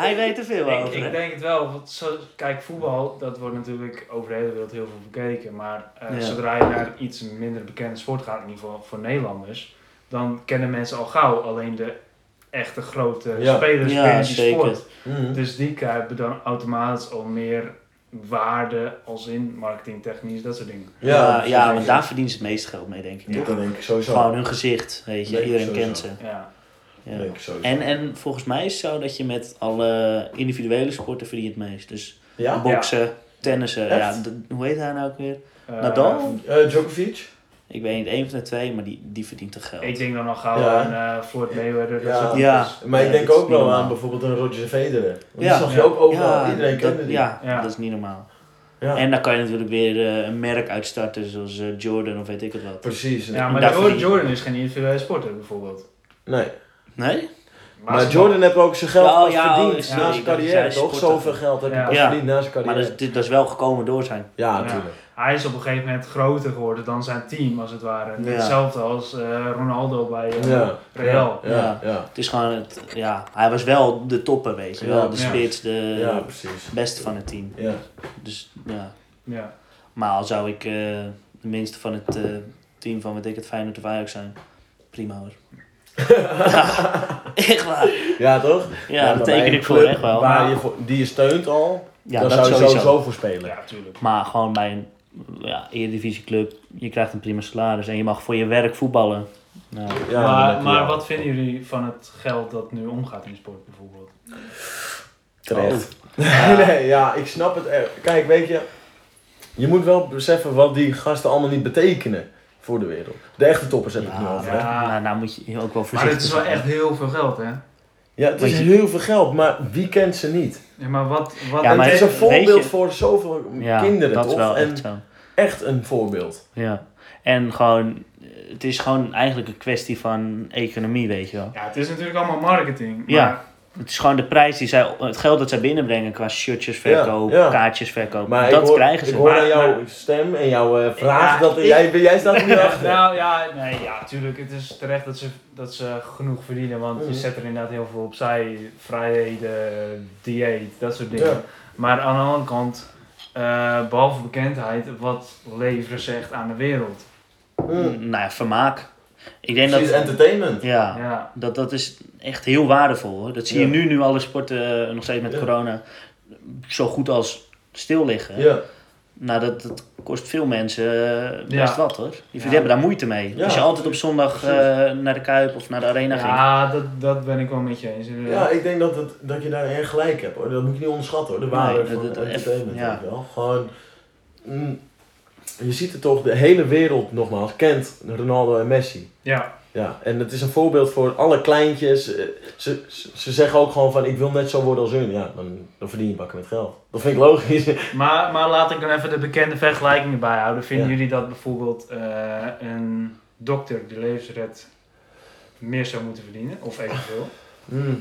[SPEAKER 3] Hij weet er veel
[SPEAKER 2] Ik,
[SPEAKER 3] over,
[SPEAKER 2] ik
[SPEAKER 3] hè?
[SPEAKER 2] denk het wel. Want zo, kijk, voetbal, dat wordt natuurlijk over de hele wereld heel veel bekeken. Maar eh,
[SPEAKER 3] Ja.
[SPEAKER 2] zodra je naar iets minder bekende sport gaat, in ieder geval voor Nederlanders, dan kennen mensen al gauw alleen de echte grote
[SPEAKER 4] Ja.
[SPEAKER 2] spelers
[SPEAKER 3] Ja,
[SPEAKER 2] binnen die
[SPEAKER 3] zeker.
[SPEAKER 2] sport.
[SPEAKER 4] Mhm.
[SPEAKER 2] Dus die hebben dan automatisch al meer waarde als in marketingtechnisch, dat soort dingen.
[SPEAKER 3] Ja, ja,
[SPEAKER 4] precies.
[SPEAKER 3] want daar verdienen ze het meeste geld mee, denk ik.
[SPEAKER 2] Ja.
[SPEAKER 3] toch?
[SPEAKER 4] Dat denk ik sowieso.
[SPEAKER 3] Gewoon hun gezicht, weet je.
[SPEAKER 4] Nee,
[SPEAKER 3] Iedereen
[SPEAKER 4] sowieso.
[SPEAKER 3] kent ze.
[SPEAKER 2] Ja.
[SPEAKER 3] Ja.
[SPEAKER 4] Denk ik sowieso.
[SPEAKER 3] En, en volgens mij is het zo dat je met alle individuele sporten verdient het meest. Dus
[SPEAKER 4] Ja?
[SPEAKER 3] boksen, tennissen, ja,
[SPEAKER 4] Echt?
[SPEAKER 3] d- hoe heet hij nou ook weer?
[SPEAKER 2] Eh,
[SPEAKER 3] Nadal?
[SPEAKER 4] Eh, Djokovic?
[SPEAKER 3] Ik weet niet, één van de twee, maar die, die verdient toch geld.
[SPEAKER 2] Ik denk dan al gauw
[SPEAKER 4] Ja.
[SPEAKER 2] aan eh, Floyd Mayweather. Dat
[SPEAKER 4] Ja.
[SPEAKER 2] soort
[SPEAKER 3] Ja.
[SPEAKER 2] types.
[SPEAKER 4] Maar
[SPEAKER 3] Ja,
[SPEAKER 4] ik denk
[SPEAKER 3] dat is
[SPEAKER 4] ook
[SPEAKER 3] niet
[SPEAKER 4] wel
[SPEAKER 3] normaal.
[SPEAKER 4] aan bijvoorbeeld een Roger Federer. Want
[SPEAKER 3] Ja.
[SPEAKER 4] Die zag je
[SPEAKER 2] Ja.
[SPEAKER 4] ook overal.
[SPEAKER 3] ja,
[SPEAKER 4] Iedereen
[SPEAKER 3] dat-
[SPEAKER 4] kende die.
[SPEAKER 3] ja,
[SPEAKER 2] Ja.
[SPEAKER 3] dat is niet normaal.
[SPEAKER 4] Ja.
[SPEAKER 3] En dan kan je natuurlijk weer eh, een merk uitstarten, zoals eh, Jordan of weet ik het wat.
[SPEAKER 4] Precies.
[SPEAKER 2] Ja, maar
[SPEAKER 3] Daar
[SPEAKER 2] Jordan,
[SPEAKER 3] verdien-
[SPEAKER 2] Jordan is geen individuele sporter bijvoorbeeld.
[SPEAKER 4] Nee.
[SPEAKER 3] Nee?
[SPEAKER 4] Maar Jordan heeft ook zijn geld
[SPEAKER 3] Ja,
[SPEAKER 4] pas
[SPEAKER 3] ja, oh,
[SPEAKER 4] verdiend
[SPEAKER 3] ja,
[SPEAKER 4] na
[SPEAKER 3] ik
[SPEAKER 4] zijn
[SPEAKER 3] dacht,
[SPEAKER 4] carrière,
[SPEAKER 3] hij is
[SPEAKER 4] toch?
[SPEAKER 3] sporter.
[SPEAKER 4] Zoveel geld heb
[SPEAKER 2] Ja.
[SPEAKER 4] hij pas
[SPEAKER 3] Ja.
[SPEAKER 4] verdiend na zijn
[SPEAKER 3] Maar
[SPEAKER 4] carrière.
[SPEAKER 3] dat is, dit- dat is wel gekomen door zijn.
[SPEAKER 4] Ja,
[SPEAKER 2] Ja.
[SPEAKER 4] natuurlijk.
[SPEAKER 2] Hij is op een gegeven moment groter geworden dan zijn team, als het ware.
[SPEAKER 3] Ja.
[SPEAKER 2] Hetzelfde als eh, Ronaldo bij eh,
[SPEAKER 4] Ja.
[SPEAKER 2] Real.
[SPEAKER 4] Ja, ja, ja.
[SPEAKER 3] Het is gewoon, het, ja, hij was wel de topper, weet je wel.
[SPEAKER 4] Ja,
[SPEAKER 3] De
[SPEAKER 2] ja.
[SPEAKER 3] spits, de
[SPEAKER 4] Ja, precies.
[SPEAKER 3] beste van het team.
[SPEAKER 4] Ja.
[SPEAKER 3] Dus ja.
[SPEAKER 2] Ja.
[SPEAKER 3] Maar al zou ik eh, de minste van het eh, team van weet ik het Feyenoord of Ajax zijn, prima hoor. ja, echt waar. Ja,
[SPEAKER 4] ja, toch? maar
[SPEAKER 3] dat
[SPEAKER 4] bij
[SPEAKER 3] teken
[SPEAKER 4] een
[SPEAKER 3] ik voor
[SPEAKER 4] club
[SPEAKER 3] echt wel.
[SPEAKER 4] Waar je voor- die je steunt al,
[SPEAKER 3] ja,
[SPEAKER 4] daar
[SPEAKER 3] dat
[SPEAKER 4] zou je
[SPEAKER 3] sowieso.
[SPEAKER 4] sowieso voor spelen.
[SPEAKER 2] ja, tuurlijk.
[SPEAKER 3] Maar gewoon bij een ja, eredivisieclub, je krijgt een prima salaris en je mag voor je werk voetballen. Nou,
[SPEAKER 4] Ja,
[SPEAKER 2] maar
[SPEAKER 4] dat-
[SPEAKER 2] maar
[SPEAKER 4] ja.
[SPEAKER 2] wat vinden jullie van het geld dat nu omgaat in sport bijvoorbeeld?
[SPEAKER 4] Terecht.
[SPEAKER 3] Oh.
[SPEAKER 4] nee, ja, ik snap het. echt. Kijk, weet je, je moet wel beseffen wat die gasten allemaal niet betekenen voor de wereld. De echte toppers heb ik
[SPEAKER 3] ja,
[SPEAKER 4] het nu over. hè. Ja,
[SPEAKER 2] Ja.
[SPEAKER 3] maar nou moet je ook wel voorzichtig
[SPEAKER 2] Maar het is wel
[SPEAKER 3] zijn.
[SPEAKER 2] echt heel veel geld, hè?
[SPEAKER 4] het is
[SPEAKER 3] Want
[SPEAKER 4] heel veel geld, maar wie kent ze niet?
[SPEAKER 2] Ja, maar wat... wat
[SPEAKER 3] Ja,
[SPEAKER 4] En
[SPEAKER 3] maar
[SPEAKER 4] het is een
[SPEAKER 3] weet je-
[SPEAKER 4] voorbeeld voor zoveel
[SPEAKER 3] ja,
[SPEAKER 4] kinderen,
[SPEAKER 3] dat
[SPEAKER 4] toch?
[SPEAKER 3] is wel
[SPEAKER 4] en
[SPEAKER 3] echt zo.
[SPEAKER 4] echt een voorbeeld.
[SPEAKER 3] Ja. En gewoon, eh, het is gewoon eigenlijk een kwestie van economie, weet je wel.
[SPEAKER 2] Ja, het is natuurlijk allemaal marketing. Maar
[SPEAKER 3] Ja. Het is gewoon de prijs die zij, het geld dat zij binnenbrengen qua shirtjes verkoop,
[SPEAKER 4] Ja, ja.
[SPEAKER 3] kaartjes verkoop.
[SPEAKER 4] Maar
[SPEAKER 3] dat
[SPEAKER 4] ik hoor,
[SPEAKER 3] krijgen ze.
[SPEAKER 4] Ik hoor
[SPEAKER 2] Maar-
[SPEAKER 4] aan jouw
[SPEAKER 2] maar-
[SPEAKER 4] stem en jouw eh, vraag
[SPEAKER 2] Ja,
[SPEAKER 4] dat
[SPEAKER 2] ik-
[SPEAKER 4] jij, jij staat er nu achter.
[SPEAKER 2] nou ja, nee, ja, tuurlijk. Het is terecht dat ze, dat ze genoeg verdienen, want
[SPEAKER 4] Mhm.
[SPEAKER 2] je zet er inderdaad heel veel opzij. Vrijheden, dieet, dat soort dingen.
[SPEAKER 4] Ja.
[SPEAKER 2] Maar aan de andere kant, eh, behalve bekendheid, wat leveren ze echt aan de wereld?
[SPEAKER 4] Mm.
[SPEAKER 3] Nou ja, vermaak. Ik denk
[SPEAKER 4] Precies,
[SPEAKER 3] dat,
[SPEAKER 4] entertainment.
[SPEAKER 3] ja,
[SPEAKER 2] Ja.
[SPEAKER 3] dat dat is echt heel waardevol. Hoor. Dat zie je
[SPEAKER 4] Ja.
[SPEAKER 3] nu, nu alle sporten, eh, nog steeds met
[SPEAKER 4] Ja.
[SPEAKER 3] corona, zo goed als stil liggen.
[SPEAKER 4] Ja.
[SPEAKER 3] Nou, dat, dat kost veel mensen eh,
[SPEAKER 2] Ja.
[SPEAKER 3] best wat hoor. Die, die
[SPEAKER 2] Ja.
[SPEAKER 3] hebben daar moeite mee.
[SPEAKER 4] Ja.
[SPEAKER 3] Als je altijd op zondag eh, naar de Kuip of naar de Arena ging.
[SPEAKER 2] Ja, dat, dat ben ik wel met je eens.
[SPEAKER 4] Ja,
[SPEAKER 2] inderdaad.
[SPEAKER 4] ik denk dat, het, dat je daar erg gelijk hebt hoor. Dat moet je niet onderschatten hoor. De waarde
[SPEAKER 3] Nee,
[SPEAKER 4] van
[SPEAKER 3] dat- dat-
[SPEAKER 4] entertainment.
[SPEAKER 3] ja.
[SPEAKER 4] weet je wel. Gewoon. mm, je ziet het toch, de hele wereld nogmaals kent Ronaldo en Messi.
[SPEAKER 2] ja.
[SPEAKER 4] Ja, en het is een voorbeeld voor alle kleintjes. Eh, Ze, ze, ze zeggen ook gewoon van ik wil net zo worden als hun. Ja, dan, dan verdien je bakken met geld. Dat vind ik logisch.
[SPEAKER 2] Maar, maar laat ik dan even de bekende vergelijkingen bijhouden. Vinden
[SPEAKER 4] Ja.
[SPEAKER 2] jullie dat bijvoorbeeld eh, een dokter die levens redt meer zou moeten verdienen? Of evenveel?
[SPEAKER 4] Mm,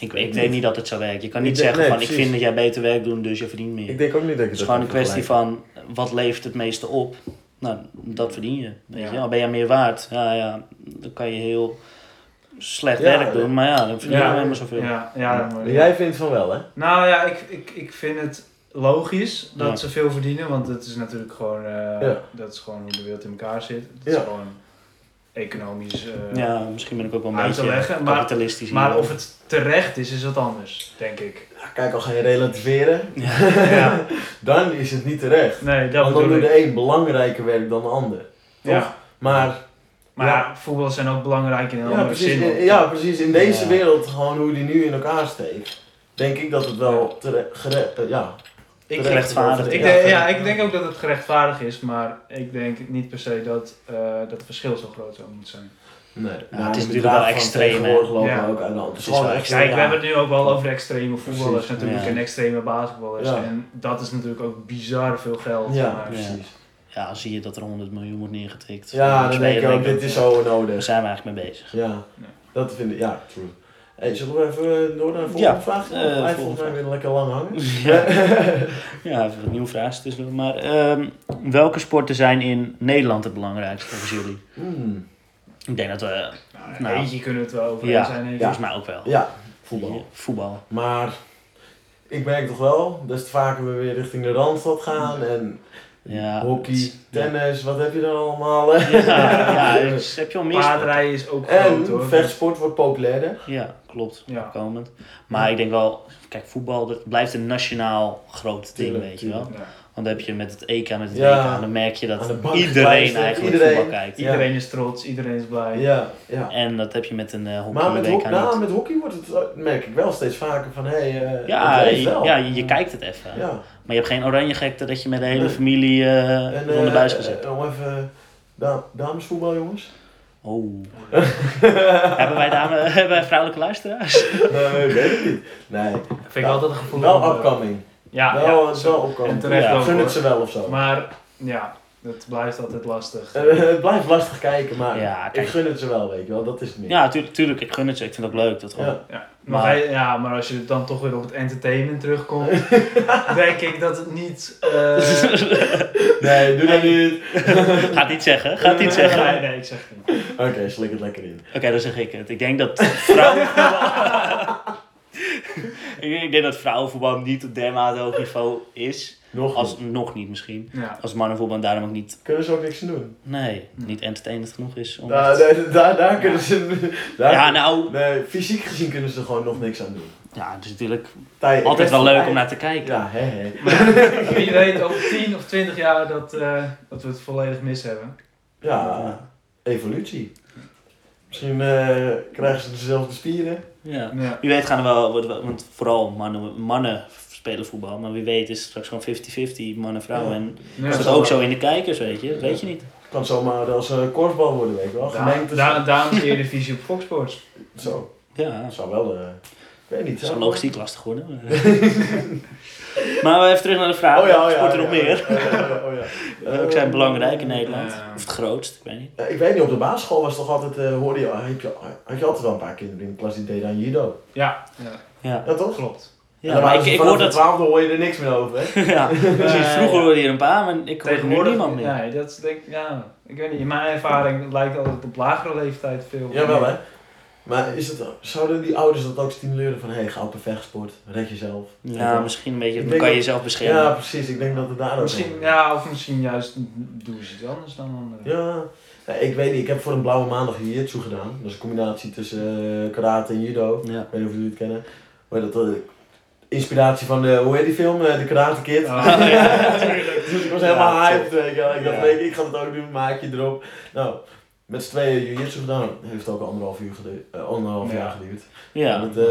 [SPEAKER 3] Ik, ik denk niet dat het zo werkt. Je kan
[SPEAKER 4] Ik
[SPEAKER 3] niet
[SPEAKER 4] denk-
[SPEAKER 3] zeggen
[SPEAKER 4] nee,
[SPEAKER 3] van ik
[SPEAKER 4] precies.
[SPEAKER 3] vind dat jij beter werk doet, dus je verdient meer.
[SPEAKER 4] ik denk ook niet dat je dat
[SPEAKER 3] Het is gewoon een
[SPEAKER 4] kan
[SPEAKER 3] kwestie
[SPEAKER 4] vergelijken.
[SPEAKER 3] van eh, wat levert het meeste op? Nou, dat verdien je. Weet je?
[SPEAKER 2] Ja.
[SPEAKER 3] Al ben je meer waard, ja, ja, dan kan je heel slecht
[SPEAKER 4] Ja,
[SPEAKER 3] werk
[SPEAKER 4] ja.
[SPEAKER 3] doen, maar ja, dan verdien je
[SPEAKER 2] Ja.
[SPEAKER 3] helemaal zoveel.
[SPEAKER 2] Ja, ja, maar-
[SPEAKER 4] Jij vindt van wel hè?
[SPEAKER 2] Nou ja, ik, ik, ik vind het logisch dat
[SPEAKER 3] Ja.
[SPEAKER 2] ze veel verdienen, want dat is natuurlijk gewoon, eh,
[SPEAKER 4] Ja.
[SPEAKER 2] dat is gewoon hoe de wereld in elkaar zit. Het is
[SPEAKER 4] Ja.
[SPEAKER 2] gewoon economisch eh,
[SPEAKER 3] Ja, misschien ben ik ook wel een
[SPEAKER 2] Uit te
[SPEAKER 3] beetje
[SPEAKER 2] leggen, maar-
[SPEAKER 3] kapitalistisch. hier.
[SPEAKER 2] Maar of het terecht is, is wat anders, denk ik.
[SPEAKER 4] Ja, kijk, al ga je relativeren,
[SPEAKER 2] ja.
[SPEAKER 4] dan is het niet terecht.
[SPEAKER 2] Nee, dat
[SPEAKER 4] Want dan
[SPEAKER 2] bedoel
[SPEAKER 4] doet
[SPEAKER 2] ik.
[SPEAKER 4] de een belangrijker werk dan de ander. Toch?
[SPEAKER 2] Ja.
[SPEAKER 4] Maar
[SPEAKER 2] Maar
[SPEAKER 4] Ja.
[SPEAKER 2] ja, voetballers zijn ook belangrijk in een
[SPEAKER 4] Ja
[SPEAKER 2] andere
[SPEAKER 4] precies,
[SPEAKER 2] zin.
[SPEAKER 4] in, ja, precies. In deze
[SPEAKER 3] Ja.
[SPEAKER 4] wereld, gewoon hoe die nu in elkaar steekt, denk ik dat het wel tere- gere- eh, ja.
[SPEAKER 2] ik, denk,
[SPEAKER 3] gerechtvaardigd
[SPEAKER 2] ik,
[SPEAKER 3] is.
[SPEAKER 2] denk, ja, ik denk ook dat het gerechtvaardigd is, maar ik denk niet per se dat eh, dat het verschil zo groot zou moeten zijn.
[SPEAKER 4] Nee,
[SPEAKER 3] het is natuurlijk wel extreem, hè.
[SPEAKER 4] Tegenwoordig lopen
[SPEAKER 2] Ja.
[SPEAKER 4] ook uit de hand. Het is
[SPEAKER 3] Het is
[SPEAKER 4] gewoon
[SPEAKER 3] wel
[SPEAKER 4] extreem.
[SPEAKER 2] Kijk, we
[SPEAKER 4] ja.
[SPEAKER 2] hebben het nu ook wel over de extreme voetballers
[SPEAKER 4] Precies,
[SPEAKER 2] natuurlijk
[SPEAKER 3] ja.
[SPEAKER 2] en extreme basketballers.
[SPEAKER 4] Ja.
[SPEAKER 2] En dat is natuurlijk ook bizar veel geld.
[SPEAKER 4] Ja,
[SPEAKER 2] maar-
[SPEAKER 4] precies.
[SPEAKER 3] Ja, dan zie je dat er 100 miljoen wordt neergetikt.
[SPEAKER 4] Ja, dan
[SPEAKER 3] Spelen,
[SPEAKER 4] denk je ook, dit is zo
[SPEAKER 3] Daar
[SPEAKER 4] nodig.
[SPEAKER 3] zijn we eigenlijk mee bezig.
[SPEAKER 4] Ja,
[SPEAKER 2] Ja.
[SPEAKER 4] dat vind ik, ja, true. Hey, zullen we even eh, door naar de volgende
[SPEAKER 3] Ja,
[SPEAKER 4] vraag?
[SPEAKER 3] eh,
[SPEAKER 4] Hij volgens
[SPEAKER 3] volgende
[SPEAKER 4] mij
[SPEAKER 3] vraag.
[SPEAKER 4] weer lekker lang hangen.
[SPEAKER 3] Ja, ja even wat nieuwe vragen tussendoor. Maar ehm, welke sporten zijn in Nederland het belangrijkste volgens jullie?
[SPEAKER 4] Hmm,
[SPEAKER 3] Ik denk dat we,
[SPEAKER 2] Nou,
[SPEAKER 3] Nou.
[SPEAKER 2] Eentje kunnen we het wel over
[SPEAKER 3] Ja.
[SPEAKER 2] eens zijn. denk ik.
[SPEAKER 3] volgens mij ook wel.
[SPEAKER 4] Ja, voetbal.
[SPEAKER 3] Voetbal.
[SPEAKER 4] Maar ik merk toch wel, des te vaker we weer richting de Randstad gaan en
[SPEAKER 3] Ja,
[SPEAKER 4] hockey,
[SPEAKER 3] het-
[SPEAKER 4] tennis, wat heb je dan allemaal? hè?
[SPEAKER 3] Ja, ja, dus heb je al meer sporten?
[SPEAKER 2] Paardrijden is ook groot
[SPEAKER 4] En
[SPEAKER 2] hoor.
[SPEAKER 4] vechtsport wordt populairder.
[SPEAKER 3] Ja, klopt.
[SPEAKER 2] Ja.
[SPEAKER 3] Komend. Maar ik denk wel, kijk, voetbal dat blijft een nationaal groot ding,
[SPEAKER 4] Tuurlijk,
[SPEAKER 3] weet je
[SPEAKER 4] tuurlijk.
[SPEAKER 3] wel.
[SPEAKER 2] Ja.
[SPEAKER 3] Want dan heb je met het EK, met het
[SPEAKER 4] Ja.
[SPEAKER 3] WK, dan merk je
[SPEAKER 4] Aan
[SPEAKER 3] dat
[SPEAKER 4] de bank
[SPEAKER 3] iedereen
[SPEAKER 4] luistert,
[SPEAKER 3] eigenlijk
[SPEAKER 4] iedereen.
[SPEAKER 3] voetbal kijkt.
[SPEAKER 4] Ja.
[SPEAKER 2] Iedereen is trots, iedereen is blij.
[SPEAKER 4] Ja, ja.
[SPEAKER 3] En dat heb je met een eh, hockey
[SPEAKER 4] Maar met,
[SPEAKER 3] WK
[SPEAKER 4] ho- nou,
[SPEAKER 3] niet.
[SPEAKER 4] met hockey wordt het, eh, merk ik wel steeds vaker van, hé, hey, eh,
[SPEAKER 3] Ja,
[SPEAKER 4] het leeft
[SPEAKER 3] je,
[SPEAKER 4] wel.
[SPEAKER 3] ja, je, je kijkt het even.
[SPEAKER 4] Ja.
[SPEAKER 3] Maar je hebt geen oranje gekte dat je met de hele
[SPEAKER 4] Nee.
[SPEAKER 3] familie eh,
[SPEAKER 4] En,
[SPEAKER 3] rond de
[SPEAKER 4] eh,
[SPEAKER 3] buis gezet.
[SPEAKER 4] eh, Om even da- damesvoetbal, jongens.
[SPEAKER 3] Oh. hebben, wij dame, hebben wij vrouwelijke luisteraars?
[SPEAKER 4] nee, weet ik niet. Nee,
[SPEAKER 2] Vind ik altijd een gevoel. van,
[SPEAKER 4] wel
[SPEAKER 2] eh,
[SPEAKER 4] upcoming.
[SPEAKER 2] Ja, ja,
[SPEAKER 4] wel,
[SPEAKER 2] zo-
[SPEAKER 4] wel
[SPEAKER 2] en
[SPEAKER 4] upcoming.
[SPEAKER 2] terecht
[SPEAKER 3] Ja.
[SPEAKER 2] ook,
[SPEAKER 4] Gun
[SPEAKER 2] hoor.
[SPEAKER 4] het ze wel of zo.
[SPEAKER 2] Maar ja, dat blijft altijd lastig.
[SPEAKER 4] Eh, het blijft lastig kijken, maar
[SPEAKER 3] Ja,
[SPEAKER 4] ik
[SPEAKER 3] kijk.
[SPEAKER 4] gun het ze wel, weet je wel. Dat is het meer.
[SPEAKER 3] Ja, tuurlijk, tuurlijk. Ik gun het ze. Ik vind het ook leuk. Dat gewoon.
[SPEAKER 4] Ja.
[SPEAKER 2] Ja, maar,
[SPEAKER 3] Maar-
[SPEAKER 2] hij- ja, maar als je dan toch weer op het entertainment terugkomt, denk ik dat het niet. eh,
[SPEAKER 4] Nee, doe dat niet.
[SPEAKER 3] Gaat niet zeggen. Gaat niet
[SPEAKER 2] nee,
[SPEAKER 3] zeggen.
[SPEAKER 2] nee, nee, ik zeg het niet.
[SPEAKER 4] Oké, slik het lekker in.
[SPEAKER 3] Oké, dan zeg ik het. Ik denk dat vrouwenvoetbal... ik denk dat vrouwenvoetbal niet op dermate hoog niveau is.
[SPEAKER 4] Nog
[SPEAKER 3] Als,
[SPEAKER 4] niet.
[SPEAKER 3] nog niet misschien.
[SPEAKER 2] Ja.
[SPEAKER 3] Als mannenvoetbal daarom ook niet...
[SPEAKER 4] Kunnen ze ook niks aan doen.
[SPEAKER 3] Nee, niet entertainend genoeg is. Om
[SPEAKER 4] Daar,
[SPEAKER 3] echt-
[SPEAKER 4] daar, Nou, daar, daar kunnen ze... Daar,
[SPEAKER 3] Ja, nou...
[SPEAKER 4] Nee, fysiek gezien kunnen ze er gewoon nog niks aan doen.
[SPEAKER 3] Ja, het is natuurlijk
[SPEAKER 4] Tij- ik
[SPEAKER 3] altijd
[SPEAKER 4] ben-
[SPEAKER 3] wel leuk om naar te kijken.
[SPEAKER 4] Ja, hè, hè.
[SPEAKER 2] Wie weet over 10 of 20 jaar dat, eh, dat we het volledig mis hebben.
[SPEAKER 4] Ja, evolutie. Misschien eh, krijgen ze dezelfde spieren.
[SPEAKER 3] Ja.
[SPEAKER 2] Ja.
[SPEAKER 3] Wie weet gaan er wel... wordt wel- Want vooral mannen, mannen spelen voetbal. Maar wie weet is het straks gewoon 50-50 mannen-vrouwen.
[SPEAKER 4] Ja.
[SPEAKER 3] En
[SPEAKER 2] Ja.
[SPEAKER 3] is dat
[SPEAKER 4] zal
[SPEAKER 3] ook
[SPEAKER 4] wel.
[SPEAKER 3] zo in de kijkers, weet je? Dat weet je niet.
[SPEAKER 4] Kan zomaar als eh korfbal worden, weet je wel.
[SPEAKER 2] Da-
[SPEAKER 4] Gemengd is
[SPEAKER 2] da- Daarom zie je de visie op Fox Sports.
[SPEAKER 4] zo.
[SPEAKER 3] Ja.
[SPEAKER 4] Dat zou wel... eh, weet niet.
[SPEAKER 3] Het is
[SPEAKER 4] zou
[SPEAKER 3] al
[SPEAKER 4] ik-
[SPEAKER 3] logistiek lastig geworden. maar even terug naar de vraag.
[SPEAKER 4] Oh ja, oh ja.
[SPEAKER 3] Sport er
[SPEAKER 4] ja,
[SPEAKER 3] nog
[SPEAKER 4] ja,
[SPEAKER 3] meer?
[SPEAKER 4] ja, ja, ja, oh ja.
[SPEAKER 3] Eh, ook zijn belangrijk in Nederland.
[SPEAKER 2] Ja.
[SPEAKER 3] Of het grootst, ik weet niet.
[SPEAKER 4] Eh, Ik weet niet, op de basisschool was toch altijd, eh, hoorde je, heb je, had je altijd wel een paar kinderen in de klas die deden aan judo.
[SPEAKER 2] Ja, ja,
[SPEAKER 3] Ja,
[SPEAKER 4] Ja, toch?
[SPEAKER 2] klopt.
[SPEAKER 3] ja maar ik, ik hoor dat...
[SPEAKER 4] Waarom hoor je er niks meer over, hè?
[SPEAKER 3] ja, precies.
[SPEAKER 2] ja.
[SPEAKER 3] Vroeger hoorde je er een paar, maar ik hoor er nu niemand meer.
[SPEAKER 2] Nee, dat is denk ik, ja. Ik weet niet, in mijn ervaring het lijkt altijd op lagere leeftijd veel.
[SPEAKER 4] Jawel, hè? Maar is het, zouden die ouders dat ook stimuleren van, hé, hey, ga op een vechtsport, red jezelf.
[SPEAKER 3] Ja, misschien een beetje.
[SPEAKER 4] Ik
[SPEAKER 3] Dan
[SPEAKER 4] denk
[SPEAKER 3] kan je
[SPEAKER 4] dat-
[SPEAKER 3] jezelf beschermen.
[SPEAKER 4] Ja, precies. Ik denk dat het daar ook
[SPEAKER 2] Misschien,
[SPEAKER 4] over-
[SPEAKER 2] ja, of misschien juist doen ze iets anders dan anderen.
[SPEAKER 4] Ja. Ja, ik weet niet. Ik heb voor een blauwe maandag jiu-jitsu gedaan. Dat is een combinatie tussen eh, karate en judo.
[SPEAKER 3] Ja.
[SPEAKER 4] Ik weet niet of jullie het kennen. Maar dat, eh, inspiratie van, de, hoe heet die film? Eh, de Karate Kid.
[SPEAKER 2] Oh, ja,
[SPEAKER 4] Dus ik
[SPEAKER 2] natuurlijk.
[SPEAKER 4] was helemaal
[SPEAKER 3] Ja,
[SPEAKER 4] hyped. weet je wel. Ik dacht,
[SPEAKER 3] Ja.
[SPEAKER 4] weet je, ik ga het ook doen, maak je erop. Nou, met z'n tweeën jiu-jitsu gedaan. Heeft ook anderhalf, uur gedu- eh, anderhalf
[SPEAKER 2] Ja.
[SPEAKER 4] jaar geduurd.
[SPEAKER 3] Ja.
[SPEAKER 4] Want, eh,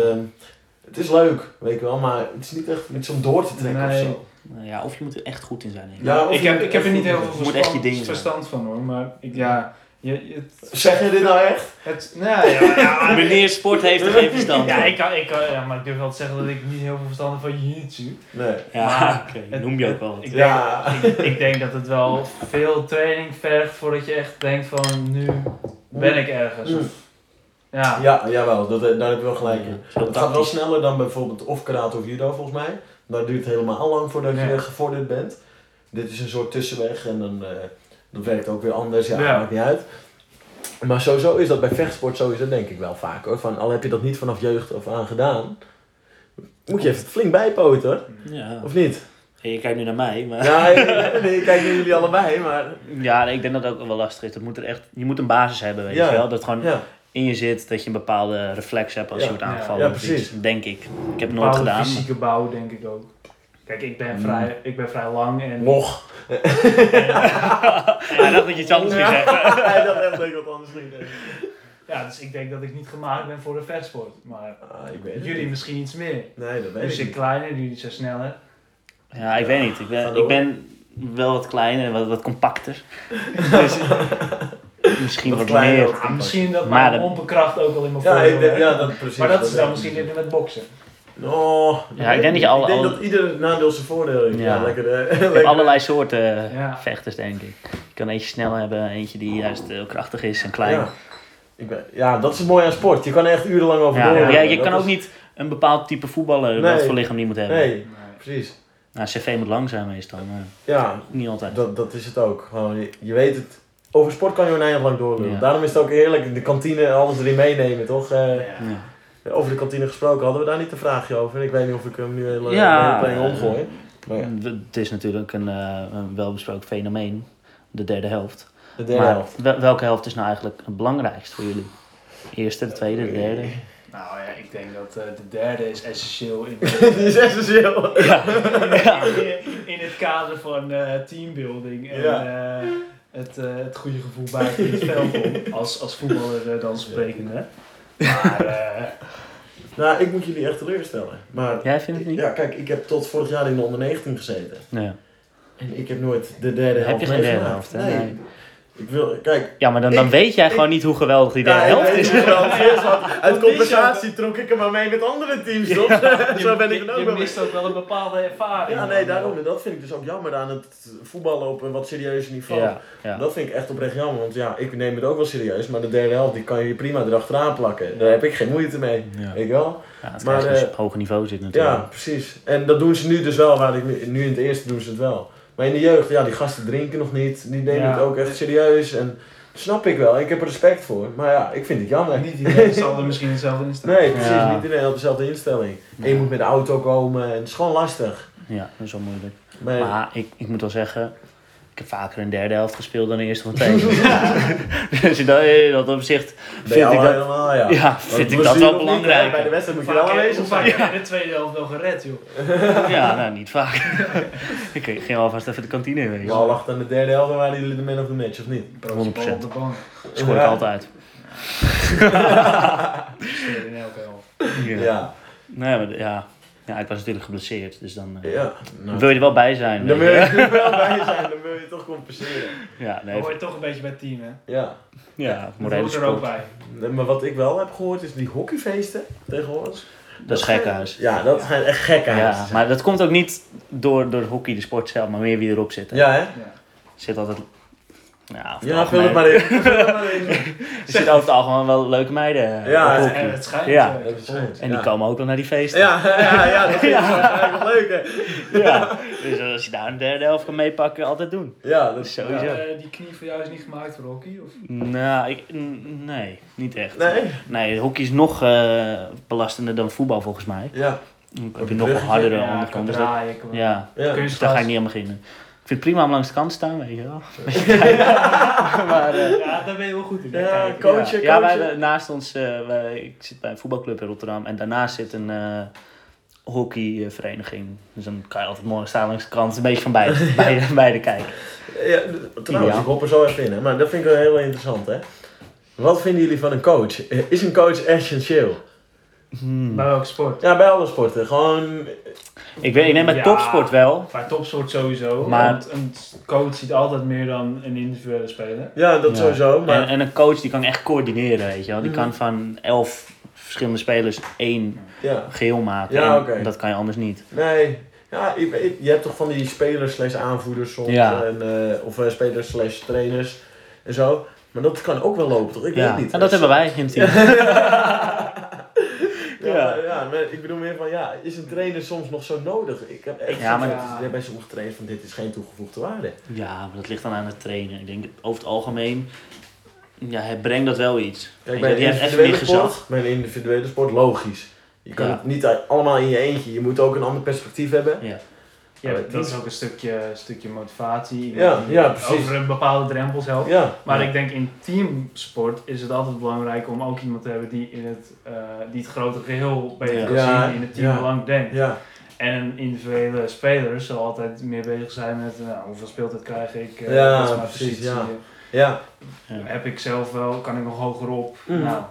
[SPEAKER 4] het is leuk, weet je wel, maar het is niet echt iets om door te trekken
[SPEAKER 2] Nee.
[SPEAKER 4] of zo.
[SPEAKER 3] Nou ja, of je moet er echt goed in zijn. denk ik.
[SPEAKER 4] Ja, of
[SPEAKER 2] ik
[SPEAKER 4] je
[SPEAKER 2] heb,
[SPEAKER 4] moet
[SPEAKER 2] ik heb er
[SPEAKER 4] echt
[SPEAKER 2] niet
[SPEAKER 4] goed
[SPEAKER 2] heel
[SPEAKER 4] doen.
[SPEAKER 2] veel
[SPEAKER 3] Moet echt je
[SPEAKER 2] verstand,
[SPEAKER 3] ding zijn.
[SPEAKER 2] verstand van hoor, maar ik, ja, je, je- het,
[SPEAKER 4] Zeg je dit nou echt?
[SPEAKER 2] het, nou ja, ja,
[SPEAKER 3] Meneer Sport heeft er geen verstand
[SPEAKER 2] ja,
[SPEAKER 3] van.
[SPEAKER 2] ik kan, ik kan, ja, maar ik durf wel te zeggen dat ik niet heel veel verstand heb van jiu-jitsu.
[SPEAKER 4] Nee.
[SPEAKER 3] Ja,
[SPEAKER 2] Maar
[SPEAKER 3] oké,
[SPEAKER 2] het-
[SPEAKER 3] noem je ook wel. wat.
[SPEAKER 2] Ik denk,
[SPEAKER 4] Ja.
[SPEAKER 2] ik, ik denk dat het wel veel training vergt voordat je echt denkt van nu ben ik
[SPEAKER 4] Mm.
[SPEAKER 2] ergens. Of, ja,
[SPEAKER 4] Ja, jawel, dat, eh, daar heb je wel gelijk
[SPEAKER 3] Ja,
[SPEAKER 4] in.
[SPEAKER 3] heel
[SPEAKER 4] Het gaat wel
[SPEAKER 3] tactisch.
[SPEAKER 4] sneller dan bijvoorbeeld of karate of judo volgens mij. Daar duurt het helemaal lang voordat
[SPEAKER 2] Ja.
[SPEAKER 4] je gevorderd bent. Dit is een soort tussenweg en dan, eh, dat werkt ook weer anders. Ja,
[SPEAKER 2] Ja.
[SPEAKER 4] maakt niet uit. Maar sowieso is dat bij vechtsport sowieso denk ik wel vaak hoor. Van, al heb je dat niet vanaf jeugd of aan gedaan, moet je even flink bijpoten hoor.
[SPEAKER 3] Ja.
[SPEAKER 4] Of niet?
[SPEAKER 3] Je kijkt nu naar mij, maar...
[SPEAKER 4] Ja, nee, nee, ik kijk naar jullie allebei, maar...
[SPEAKER 3] Ja, nee, ik denk dat dat ook wel lastig is. Dat moet er echt, je moet een basis hebben, weet
[SPEAKER 4] Ja.
[SPEAKER 3] je wel. Dat gewoon
[SPEAKER 4] Ja,
[SPEAKER 3] in je zit, dat je een bepaalde reflex hebt als
[SPEAKER 4] Ja.
[SPEAKER 3] je wordt
[SPEAKER 2] Ja.
[SPEAKER 3] aangevallen.
[SPEAKER 4] Ja,
[SPEAKER 3] of iets,
[SPEAKER 4] precies.
[SPEAKER 3] Denk ik. Ik heb het nooit
[SPEAKER 2] bepaalde
[SPEAKER 3] gedaan. maar-
[SPEAKER 2] fysieke bouw denk ik ook. Kijk, ik
[SPEAKER 4] Hmm.
[SPEAKER 2] ben, vrij, ik ben vrij lang en...
[SPEAKER 4] nog.
[SPEAKER 3] Hij dacht dat je iets anders ging zeggen.
[SPEAKER 4] Hij dacht echt dat ik wat anders ging zeggen.
[SPEAKER 2] Ja, dus ik denk dat ik niet gemaakt ben voor de vechtsport. Maar
[SPEAKER 4] Ah, ik weet het
[SPEAKER 2] jullie Dus
[SPEAKER 4] niet.
[SPEAKER 2] misschien iets meer.
[SPEAKER 4] Nee, dat weet
[SPEAKER 2] Jullie
[SPEAKER 4] ik
[SPEAKER 2] zijn
[SPEAKER 4] niet.
[SPEAKER 2] kleiner, jullie zijn sneller.
[SPEAKER 3] Ja, ik weet niet. Ik
[SPEAKER 4] Ga
[SPEAKER 3] ben,
[SPEAKER 4] door.
[SPEAKER 3] ik ben wel wat kleiner en wat, wat compacter. Dus misschien
[SPEAKER 4] Wat
[SPEAKER 3] wat
[SPEAKER 4] kleiner
[SPEAKER 3] meer.
[SPEAKER 4] ook.
[SPEAKER 2] Ah, misschien dat
[SPEAKER 3] Maar
[SPEAKER 2] mijn
[SPEAKER 3] dat-
[SPEAKER 2] ompenkracht ook wel in mijn
[SPEAKER 4] Ja,
[SPEAKER 2] voordeel
[SPEAKER 4] ik denk,
[SPEAKER 2] werkt.
[SPEAKER 4] ja, dat precies.
[SPEAKER 2] eh, Maar dat is dan
[SPEAKER 4] weet
[SPEAKER 2] misschien
[SPEAKER 4] ik
[SPEAKER 2] dit met boksen.
[SPEAKER 4] Oh,
[SPEAKER 3] Ja, ik denk dat je alle-
[SPEAKER 4] Ik denk
[SPEAKER 3] alle-
[SPEAKER 4] dat ieder nadeel zijn voordeel heeft. Ja,
[SPEAKER 3] Ja.
[SPEAKER 4] lekker. eh,
[SPEAKER 3] Je hebt
[SPEAKER 4] lekker.
[SPEAKER 3] allerlei soorten
[SPEAKER 2] Ja.
[SPEAKER 3] vechters, denk ik. Je kan eentje snel hebben, eentje die juist heel krachtig is en klein.
[SPEAKER 4] Ja.
[SPEAKER 3] Ja,
[SPEAKER 4] Ik ben, ja, dat is het mooie aan sport. Je kan er echt urenlang over
[SPEAKER 3] maar
[SPEAKER 4] door.
[SPEAKER 3] ja, je
[SPEAKER 4] Dat
[SPEAKER 3] kan
[SPEAKER 4] is-
[SPEAKER 3] ook niet een bepaald type voetballer, wat
[SPEAKER 4] Nee.
[SPEAKER 3] voor lichaam die moet hebben.
[SPEAKER 4] Nee, precies.
[SPEAKER 3] Nou, CV moet lang zijn meestal, maar
[SPEAKER 4] Ja,
[SPEAKER 3] niet altijd.
[SPEAKER 4] dat, dat is het ook. Gewoon, je, je weet het. Over sport kan je oneindig lang doorlullen.
[SPEAKER 3] Ja.
[SPEAKER 4] Daarom is het ook heerlijk in de kantine en alles erin meenemen, toch? Eh,
[SPEAKER 2] Ja.
[SPEAKER 3] Ja.
[SPEAKER 4] Over de kantine gesproken hadden we daar niet een vraagje over. Ik weet niet of ik hem nu heel
[SPEAKER 3] Ja,
[SPEAKER 4] ja,
[SPEAKER 3] eh,
[SPEAKER 4] omgooi. Maar ja,
[SPEAKER 3] Mm, W- Het is natuurlijk een, eh, een welbesproken fenomeen, de derde helft.
[SPEAKER 4] de derde
[SPEAKER 3] maar
[SPEAKER 4] helft.
[SPEAKER 3] wel- welke helft is nou eigenlijk het belangrijkst voor jullie? De eerste, de tweede, de derde?
[SPEAKER 4] Eh,
[SPEAKER 2] Nou ja, ik denk dat eh, de derde is essentieel in,
[SPEAKER 4] Dit is essentieel.
[SPEAKER 3] Ja.
[SPEAKER 2] in het kader van eh, teambuilding en eh, het, eh, het goede gevoel buiten het veld om, als, als voetballer eh, dan sprekende. Maar eh,
[SPEAKER 4] Nou, ik moet jullie echt teleurstellen. Maar
[SPEAKER 3] Jij vindt het niet?
[SPEAKER 4] Ja, kijk, ik heb tot vorig jaar in de onder 19 gezeten.
[SPEAKER 3] Ja.
[SPEAKER 4] En ik heb nooit de derde
[SPEAKER 3] Heb
[SPEAKER 4] helft
[SPEAKER 3] je geen derde helft,
[SPEAKER 4] meegemaakt.
[SPEAKER 3] hè?
[SPEAKER 4] Nee.
[SPEAKER 3] Nee.
[SPEAKER 4] Ik wil, kijk.
[SPEAKER 3] Ja, maar dan, dan
[SPEAKER 4] Ik-
[SPEAKER 3] weet jij
[SPEAKER 4] ik-
[SPEAKER 3] gewoon niet hoe geweldig die derde
[SPEAKER 4] Ja, ik
[SPEAKER 3] helft
[SPEAKER 4] weet
[SPEAKER 3] is.
[SPEAKER 4] het wel. Eerst wat- Uit
[SPEAKER 2] Wat mis je
[SPEAKER 4] compensatie trok ik hem maar mee met andere teams, toch? Zo ben ik
[SPEAKER 2] je,
[SPEAKER 4] er ook
[SPEAKER 2] je
[SPEAKER 4] wel mee.
[SPEAKER 2] mist ook wel een bepaalde ervaring. eh,
[SPEAKER 4] Ja, nee, daarom. En dat vind ik dus ook jammer aan het voetballen op een wat serieuzer niveau.
[SPEAKER 3] Ja, ja.
[SPEAKER 4] Dat vind ik echt oprecht jammer, want ja, ik neem het ook wel serieus, maar de derde helft die kan je prima erachteraan plakken. Daar heb ik geen moeite mee,
[SPEAKER 3] Ja.
[SPEAKER 4] weet je wel?
[SPEAKER 3] Ja, het
[SPEAKER 4] Maar,
[SPEAKER 3] krijg je als je
[SPEAKER 4] eh,
[SPEAKER 3] op hoger niveau zit natuurlijk.
[SPEAKER 4] Ja, precies. En dat doen ze nu dus wel, waar ik nu, nu in het eerste doen ze het wel. Maar in de jeugd, ja, die gasten drinken nog niet. Die nemen
[SPEAKER 2] Ja.
[SPEAKER 4] het ook echt serieus. En snap ik wel, ik heb er respect voor. Maar ja, ik vind het jammer.
[SPEAKER 2] Niet iedereen zal er misschien hetzelfde in staan.
[SPEAKER 4] Nee, precies.
[SPEAKER 3] Ja.
[SPEAKER 4] Niet iedereen op dezelfde instelling. En je
[SPEAKER 3] Ja.
[SPEAKER 4] moet met de auto komen en het is gewoon lastig.
[SPEAKER 3] Ja, dat is wel moeilijk.
[SPEAKER 4] Maar,
[SPEAKER 3] Maar ik, ik moet wel zeggen, ik heb vaker een derde helft gespeeld dan een eerste van twee. dus in dat, in dat opzicht
[SPEAKER 4] ben je
[SPEAKER 3] vind ik
[SPEAKER 4] al
[SPEAKER 3] dat,
[SPEAKER 4] helemaal, ja.
[SPEAKER 3] ja,
[SPEAKER 4] Want
[SPEAKER 3] vind ik
[SPEAKER 4] blessure
[SPEAKER 3] dat wel
[SPEAKER 4] of niet, hè, Bij de
[SPEAKER 3] belangrijk.
[SPEAKER 4] wedstrijd moet je
[SPEAKER 2] Vaak
[SPEAKER 4] wel
[SPEAKER 2] heb-
[SPEAKER 4] aanwezig
[SPEAKER 2] hoe vaak
[SPEAKER 4] zijn.
[SPEAKER 2] heb je in de tweede helft wel gered, joh.
[SPEAKER 3] Ja, nou niet vaak. ik ging alvast even de kantine in
[SPEAKER 4] De
[SPEAKER 3] wezen.
[SPEAKER 4] bal lag aan de derde helft en waren jullie de man of the match, of niet?
[SPEAKER 2] Broodje bal
[SPEAKER 3] 100%.
[SPEAKER 2] op de bank.
[SPEAKER 3] Schoor ik
[SPEAKER 4] Ja.
[SPEAKER 3] altijd.
[SPEAKER 2] Spelen in elke helft.
[SPEAKER 3] Ja.
[SPEAKER 4] Ja.
[SPEAKER 3] Nee, maar, ja. ja, ik was natuurlijk geblesseerd, dus dan eh,
[SPEAKER 4] Ja. Nou,
[SPEAKER 3] wil je er wel bij zijn.
[SPEAKER 4] Dan
[SPEAKER 3] weet
[SPEAKER 4] wil
[SPEAKER 3] je.
[SPEAKER 4] je er wel bij zijn, dan wil je toch compenseren.
[SPEAKER 3] Ja, nee,
[SPEAKER 2] Dan hoor je toch een beetje bij het team, hè.
[SPEAKER 4] Ja.
[SPEAKER 3] ja,
[SPEAKER 2] Dat
[SPEAKER 3] morele
[SPEAKER 2] hoort er ook
[SPEAKER 3] support.
[SPEAKER 2] bij.
[SPEAKER 4] Nee, maar wat ik wel heb gehoord is die hockeyfeesten tegenwoordig.
[SPEAKER 3] Dat is gekkenhuis.
[SPEAKER 4] Ja, dat zijn echt gekke
[SPEAKER 3] Ja,
[SPEAKER 4] ja,
[SPEAKER 3] maar dat komt ook niet door, door hockey, de sport zelf, maar meer wie erop zit. hè.
[SPEAKER 4] ja, hè?
[SPEAKER 3] Zit altijd... Ja, over
[SPEAKER 4] Ja,
[SPEAKER 3] het
[SPEAKER 4] vul het
[SPEAKER 3] algemeen-
[SPEAKER 4] maar in.
[SPEAKER 3] Er zitten over het algemeen wel leuke meiden eh,
[SPEAKER 4] Ja,
[SPEAKER 3] op
[SPEAKER 4] het-
[SPEAKER 3] hockey.
[SPEAKER 2] En het schijnt.
[SPEAKER 3] Ja.
[SPEAKER 2] eh, het schijnt.
[SPEAKER 3] En die
[SPEAKER 4] ja.
[SPEAKER 3] komen ook wel naar die feesten.
[SPEAKER 4] Ja, ja, ja, dat vind ik eigenlijk leuk, hè?
[SPEAKER 3] Ja. Dus als je daar een derde helft kan meepakken, altijd doen.
[SPEAKER 4] Ja, dat
[SPEAKER 3] Dat
[SPEAKER 4] is...
[SPEAKER 3] is sowieso.
[SPEAKER 2] Eh, die knie voor jou is niet gemaakt voor hockey? Of?
[SPEAKER 3] Nou, ik, n- nee, niet echt.
[SPEAKER 4] Nee?
[SPEAKER 3] Nee, hockey is nog eh, belastender dan voetbal volgens mij.
[SPEAKER 4] Ja.
[SPEAKER 3] Dan heb
[SPEAKER 4] Op
[SPEAKER 3] je
[SPEAKER 4] een
[SPEAKER 3] nog een
[SPEAKER 4] bruggetje?
[SPEAKER 3] hardere
[SPEAKER 2] Ja, kan
[SPEAKER 3] onderkant. Dus dat,
[SPEAKER 2] draaien, kan-
[SPEAKER 3] ja,
[SPEAKER 4] Ja.
[SPEAKER 2] Kunst-
[SPEAKER 3] dus daar ga ik niet aan beginnen. Ik vind het prima om langs de kant te staan, weet je wel. maar, eh,
[SPEAKER 2] Ja, daar ben je wel goed in.
[SPEAKER 4] Ja,
[SPEAKER 2] Kijk,
[SPEAKER 4] coachen, coachen.
[SPEAKER 3] Ja, wij hebben naast ons, eh, wij- ik zit bij een voetbalclub in Rotterdam en daarnaast zit een eh, hockeyvereniging. Dus dan kan je altijd mooi staan langs de kant, een beetje van beide, beide, beide kijken.
[SPEAKER 4] Ja, d- trouwens,
[SPEAKER 3] Ja.
[SPEAKER 4] ik hop er zo even in, hè, maar dat vind ik wel heel interessant, hè? Wat vinden jullie van een coach? Is een coach essentieel?
[SPEAKER 2] Bij welke sport?
[SPEAKER 4] Ja, bij alle sporten. Gewoon,
[SPEAKER 3] Ik, weet, ik neem met
[SPEAKER 2] Ja.
[SPEAKER 3] topsport wel.
[SPEAKER 2] Bij topsport sowieso.
[SPEAKER 3] Maar-
[SPEAKER 2] Want een coach ziet altijd meer dan een individuele speler.
[SPEAKER 4] ja, dat
[SPEAKER 3] Ja.
[SPEAKER 4] sowieso, maar...
[SPEAKER 3] En, en een coach die kan echt coördineren, weet je wel. Die
[SPEAKER 4] Mhm.
[SPEAKER 3] kan van elf verschillende spelers één
[SPEAKER 4] ja,
[SPEAKER 3] geel maken.
[SPEAKER 4] Ja,
[SPEAKER 3] En
[SPEAKER 4] oké.
[SPEAKER 3] Dat kan je anders niet.
[SPEAKER 4] nee. Ja, ik, ik- je hebt toch van die spelers slash aanvoerders soms,
[SPEAKER 3] Ja.
[SPEAKER 4] en, eh, of eh, spelers slash trainers en zo. Maar dat kan ook wel lopen, toch? Ik weet
[SPEAKER 3] ja.
[SPEAKER 4] het niet.
[SPEAKER 3] En dat hebben wij in het team.
[SPEAKER 4] Ja,
[SPEAKER 3] Ja.
[SPEAKER 4] maar- ja, maar ik bedoel meer van, ja, is een trainer soms nog zo nodig? Ik heb echt
[SPEAKER 3] Ja, maar-
[SPEAKER 4] zoiets bij sommige trainers van, dit is geen toegevoegde waarde.
[SPEAKER 3] Ja, maar dat ligt dan aan het trainen. Ik denk over het algemeen, ja, het brengt dat wel iets.
[SPEAKER 4] Kijk,
[SPEAKER 3] Weet je,
[SPEAKER 4] bij een
[SPEAKER 3] die heeft echt
[SPEAKER 4] individuele
[SPEAKER 3] meer
[SPEAKER 4] sport,
[SPEAKER 3] gezag.
[SPEAKER 4] bij een individuele sport, logisch. Je kan
[SPEAKER 3] Ja.
[SPEAKER 4] het niet allemaal in je eentje. Je moet ook een ander perspectief hebben.
[SPEAKER 3] Ja.
[SPEAKER 2] Ja,
[SPEAKER 4] Maar
[SPEAKER 2] dat
[SPEAKER 4] die-
[SPEAKER 2] is ook een stukje, stukje motivatie. iemand
[SPEAKER 4] Ja,
[SPEAKER 2] die
[SPEAKER 4] ja, precies.
[SPEAKER 2] Over een bepaalde drempels helpt.
[SPEAKER 4] Ja,
[SPEAKER 2] Maar
[SPEAKER 3] Ja.
[SPEAKER 2] ik denk in teamsport is het altijd belangrijk om ook iemand te hebben die, in het, eh, die het grote geheel beter
[SPEAKER 3] Ja.
[SPEAKER 2] kan
[SPEAKER 4] Ja,
[SPEAKER 2] zien, in het team
[SPEAKER 4] ja.
[SPEAKER 2] belang denkt.
[SPEAKER 4] ja,
[SPEAKER 2] En een individuele speler zal altijd meer bezig zijn met nou, hoeveel speeltijd krijg ik, eh,
[SPEAKER 4] Ja,
[SPEAKER 2] wat is mijn
[SPEAKER 4] precies,
[SPEAKER 2] positie,
[SPEAKER 4] ja. ja.
[SPEAKER 3] Ja.
[SPEAKER 2] heb ik zelf wel, kan ik nog hoger op.
[SPEAKER 4] Mhm.
[SPEAKER 2] Nou,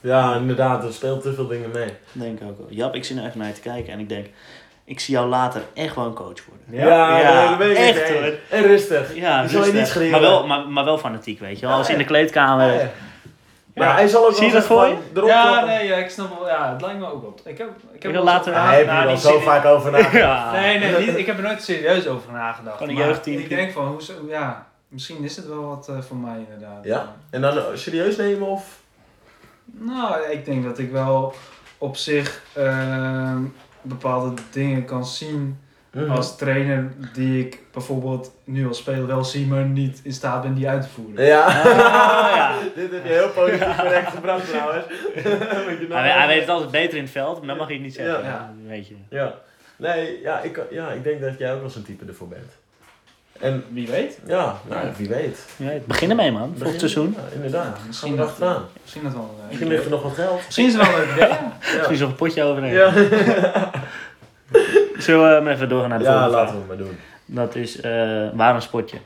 [SPEAKER 4] Ja, inderdaad, er speelt te veel dingen mee.
[SPEAKER 3] Denk ik ook wel. Jap, ik zit er echt naar je te kijken en ik denk, ik zie jou later echt wel een coach worden.
[SPEAKER 4] Ja,
[SPEAKER 3] ja,
[SPEAKER 4] dat weet ik
[SPEAKER 3] echt,
[SPEAKER 4] niet.
[SPEAKER 3] hoor.
[SPEAKER 4] En rustig.
[SPEAKER 3] Ja,
[SPEAKER 4] Die zal je
[SPEAKER 3] rustig.
[SPEAKER 4] niet schreeuwen.
[SPEAKER 3] Maar wel, maar, maar wel fanatiek, weet je wel.
[SPEAKER 4] Ja,
[SPEAKER 3] Als in
[SPEAKER 4] ja.
[SPEAKER 3] de kleedkamer.
[SPEAKER 4] Ja. Maar hij zal ook
[SPEAKER 3] Zie je
[SPEAKER 4] wel
[SPEAKER 3] dat voor
[SPEAKER 4] zeggen
[SPEAKER 3] je?
[SPEAKER 4] van, erop
[SPEAKER 2] Ja,
[SPEAKER 4] klappen.
[SPEAKER 2] nee, ja, ik snap wel. Ja, het lijkt me ook op. Ik heb, ik heb
[SPEAKER 3] wil
[SPEAKER 2] wel eens
[SPEAKER 3] later-
[SPEAKER 2] over
[SPEAKER 4] Daar heb je
[SPEAKER 2] na-
[SPEAKER 4] er al
[SPEAKER 2] die
[SPEAKER 4] zo
[SPEAKER 2] zin-
[SPEAKER 4] vaak over nagedacht.
[SPEAKER 3] Ja.
[SPEAKER 2] Nee, nee, niet, ik heb er nooit serieus over nagedacht.
[SPEAKER 3] Van een
[SPEAKER 2] maar
[SPEAKER 3] jeugdteam.
[SPEAKER 2] Ik denk van, hoezo, ja, misschien is het wel wat eh, voor mij inderdaad.
[SPEAKER 4] Ja? En dan eh, serieus nemen of...
[SPEAKER 2] Nou, ik denk dat ik wel op zich ehm, bepaalde dingen kan zien
[SPEAKER 3] Mm.
[SPEAKER 4] Mhm.
[SPEAKER 2] als trainer die ik bijvoorbeeld nu als speler wel zie, maar niet in staat ben die uit te voeren.
[SPEAKER 4] Ja.
[SPEAKER 3] Ah, ja.
[SPEAKER 4] Dit heb je heel positief correct gebracht trouwens. Moet je
[SPEAKER 3] Hij,
[SPEAKER 4] nagaan.
[SPEAKER 3] hij weet het altijd beter in het veld, maar dat mag je niet zeggen.
[SPEAKER 2] Ja.
[SPEAKER 3] Ja. Weet je.
[SPEAKER 4] Ja. Nee, ja ik, ja, ik denk dat jij ook wel zo'n type ervoor bent. En
[SPEAKER 2] Wie weet.
[SPEAKER 4] ja, nou, wie weet.
[SPEAKER 3] Ja, begin ermee, man. Volgend
[SPEAKER 4] Begin-
[SPEAKER 3] seizoen.
[SPEAKER 4] Ja, inderdaad.
[SPEAKER 2] Ja,
[SPEAKER 4] Misschien
[SPEAKER 2] misschien
[SPEAKER 4] we
[SPEAKER 2] dat-
[SPEAKER 4] achteraan.
[SPEAKER 2] Misschien dat wel. eh,
[SPEAKER 4] Misschien ligt er nog wat geld.
[SPEAKER 2] misschien is het wel een leuk idee. ja.
[SPEAKER 3] Misschien zo'n potje overheen.
[SPEAKER 4] Ja,
[SPEAKER 3] Zullen we hem even doorgaan naar de
[SPEAKER 4] ja
[SPEAKER 3] volgende
[SPEAKER 4] laten
[SPEAKER 3] vraag?
[SPEAKER 4] we het maar doen.
[SPEAKER 3] Dat is, eh, waarom sport je?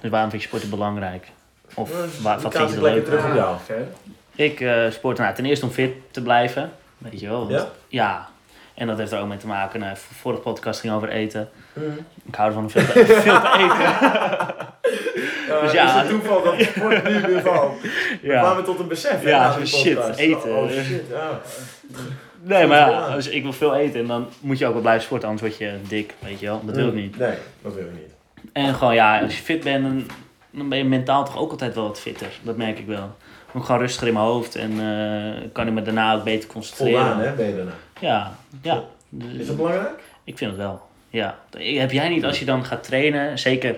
[SPEAKER 3] Dus waarom vind je sporten belangrijk? Of wa- wat vind je er
[SPEAKER 4] dus lekker
[SPEAKER 3] leuk?
[SPEAKER 4] terug
[SPEAKER 3] aan?
[SPEAKER 4] op jou.
[SPEAKER 2] Oké.
[SPEAKER 3] Ik eh, sport nou, ten eerste om fit te blijven. Weet je wel. want-
[SPEAKER 4] Ja?
[SPEAKER 3] ja. En dat heeft er ook mee te maken. Nou, v- vorige podcast ging over eten.
[SPEAKER 4] Mhm.
[SPEAKER 3] Ik hou ervan om veel te, veel te eten. Dus ja,
[SPEAKER 4] Eh, is
[SPEAKER 3] als-
[SPEAKER 4] het toeval dat het sport nu weer valt. We
[SPEAKER 3] Ja.
[SPEAKER 4] kwamen tot een besef. hè,
[SPEAKER 3] Ja,
[SPEAKER 4] na die
[SPEAKER 3] shit,
[SPEAKER 4] podcast.
[SPEAKER 3] eten.
[SPEAKER 4] Oh shit, ja.
[SPEAKER 3] Nee, maar ja,
[SPEAKER 4] Ja.
[SPEAKER 3] dus ik wil veel eten en dan moet je ook wel blijven sporten, anders word je dik, weet je wel. Dat wil ik niet.
[SPEAKER 4] Mm. Nee, dat wil ik niet.
[SPEAKER 3] En gewoon ja, als je fit bent, dan, dan ben je mentaal toch ook altijd wel wat fitter. Dat merk ik wel. Dan ben ik gewoon rustiger in mijn hoofd en eh, kan ik me daarna ook beter concentreren.
[SPEAKER 4] Voldaan hè, ben je daarna.
[SPEAKER 3] Ja, ja. Dus-
[SPEAKER 4] Is dat belangrijk?
[SPEAKER 3] Ik vind het wel. Ja. Heb jij niet als je dan gaat trainen, zeker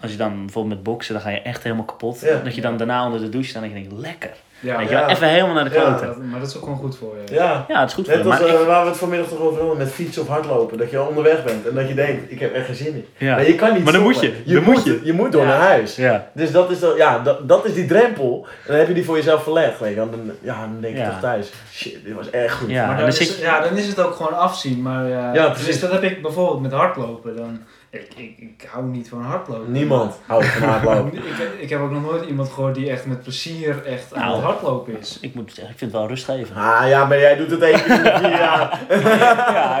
[SPEAKER 3] als je dan bijvoorbeeld met boksen, dan ga je echt helemaal kapot.
[SPEAKER 4] Ja.
[SPEAKER 3] Dat je dan daarna onder de douche staat en je denkt, lekker.
[SPEAKER 2] Ja,
[SPEAKER 3] Weet je
[SPEAKER 2] ja,
[SPEAKER 3] wel, even helemaal naar de
[SPEAKER 4] Ja,
[SPEAKER 3] kloten. Ja,
[SPEAKER 2] dat- maar dat is ook gewoon goed voor je.
[SPEAKER 4] Ja.
[SPEAKER 3] het is goed voor je.
[SPEAKER 4] Net als
[SPEAKER 3] Maar
[SPEAKER 4] eh,
[SPEAKER 3] ik,
[SPEAKER 4] waar we het vanmiddag toch over hadden met fietsen of hardlopen. Dat je al onderweg bent en dat je denkt, ik heb echt geen zin in.
[SPEAKER 3] Ja.
[SPEAKER 4] Maar je kan niet
[SPEAKER 3] Maar dan
[SPEAKER 4] stoppen.
[SPEAKER 3] moet je. Dan moet je.
[SPEAKER 4] Je moet door
[SPEAKER 2] Ja.
[SPEAKER 4] naar huis.
[SPEAKER 3] ja.
[SPEAKER 4] Dus dat is, dan- ja, dat, dat is die drempel. En dan heb je die voor jezelf verlegd. Weet je. wel. Dan, ja, dan denk je
[SPEAKER 3] Ja.
[SPEAKER 4] toch thuis, shit, dit was echt goed.
[SPEAKER 3] Ja,
[SPEAKER 2] maar
[SPEAKER 3] en
[SPEAKER 2] dan,
[SPEAKER 3] dan
[SPEAKER 2] is,
[SPEAKER 3] zit
[SPEAKER 2] het-
[SPEAKER 3] je-
[SPEAKER 2] ja, dan is het ook gewoon afzien. Maar eh,
[SPEAKER 4] Ja, precies.
[SPEAKER 2] Dus dat heb ik bijvoorbeeld met hardlopen. Dan, ik, ik, ik hou niet van hardlopen.
[SPEAKER 4] Niemand houdt van hardlopen.
[SPEAKER 2] Ik, heb- ik heb ook nog nooit iemand gehoord die echt met plezier echt aan
[SPEAKER 3] Nou.
[SPEAKER 2] het hardlopen is.
[SPEAKER 3] ik moet zeggen, ik vind het wel rust geven.
[SPEAKER 4] ah ja, maar jij doet het één keer in de vier jaar.
[SPEAKER 3] Ja,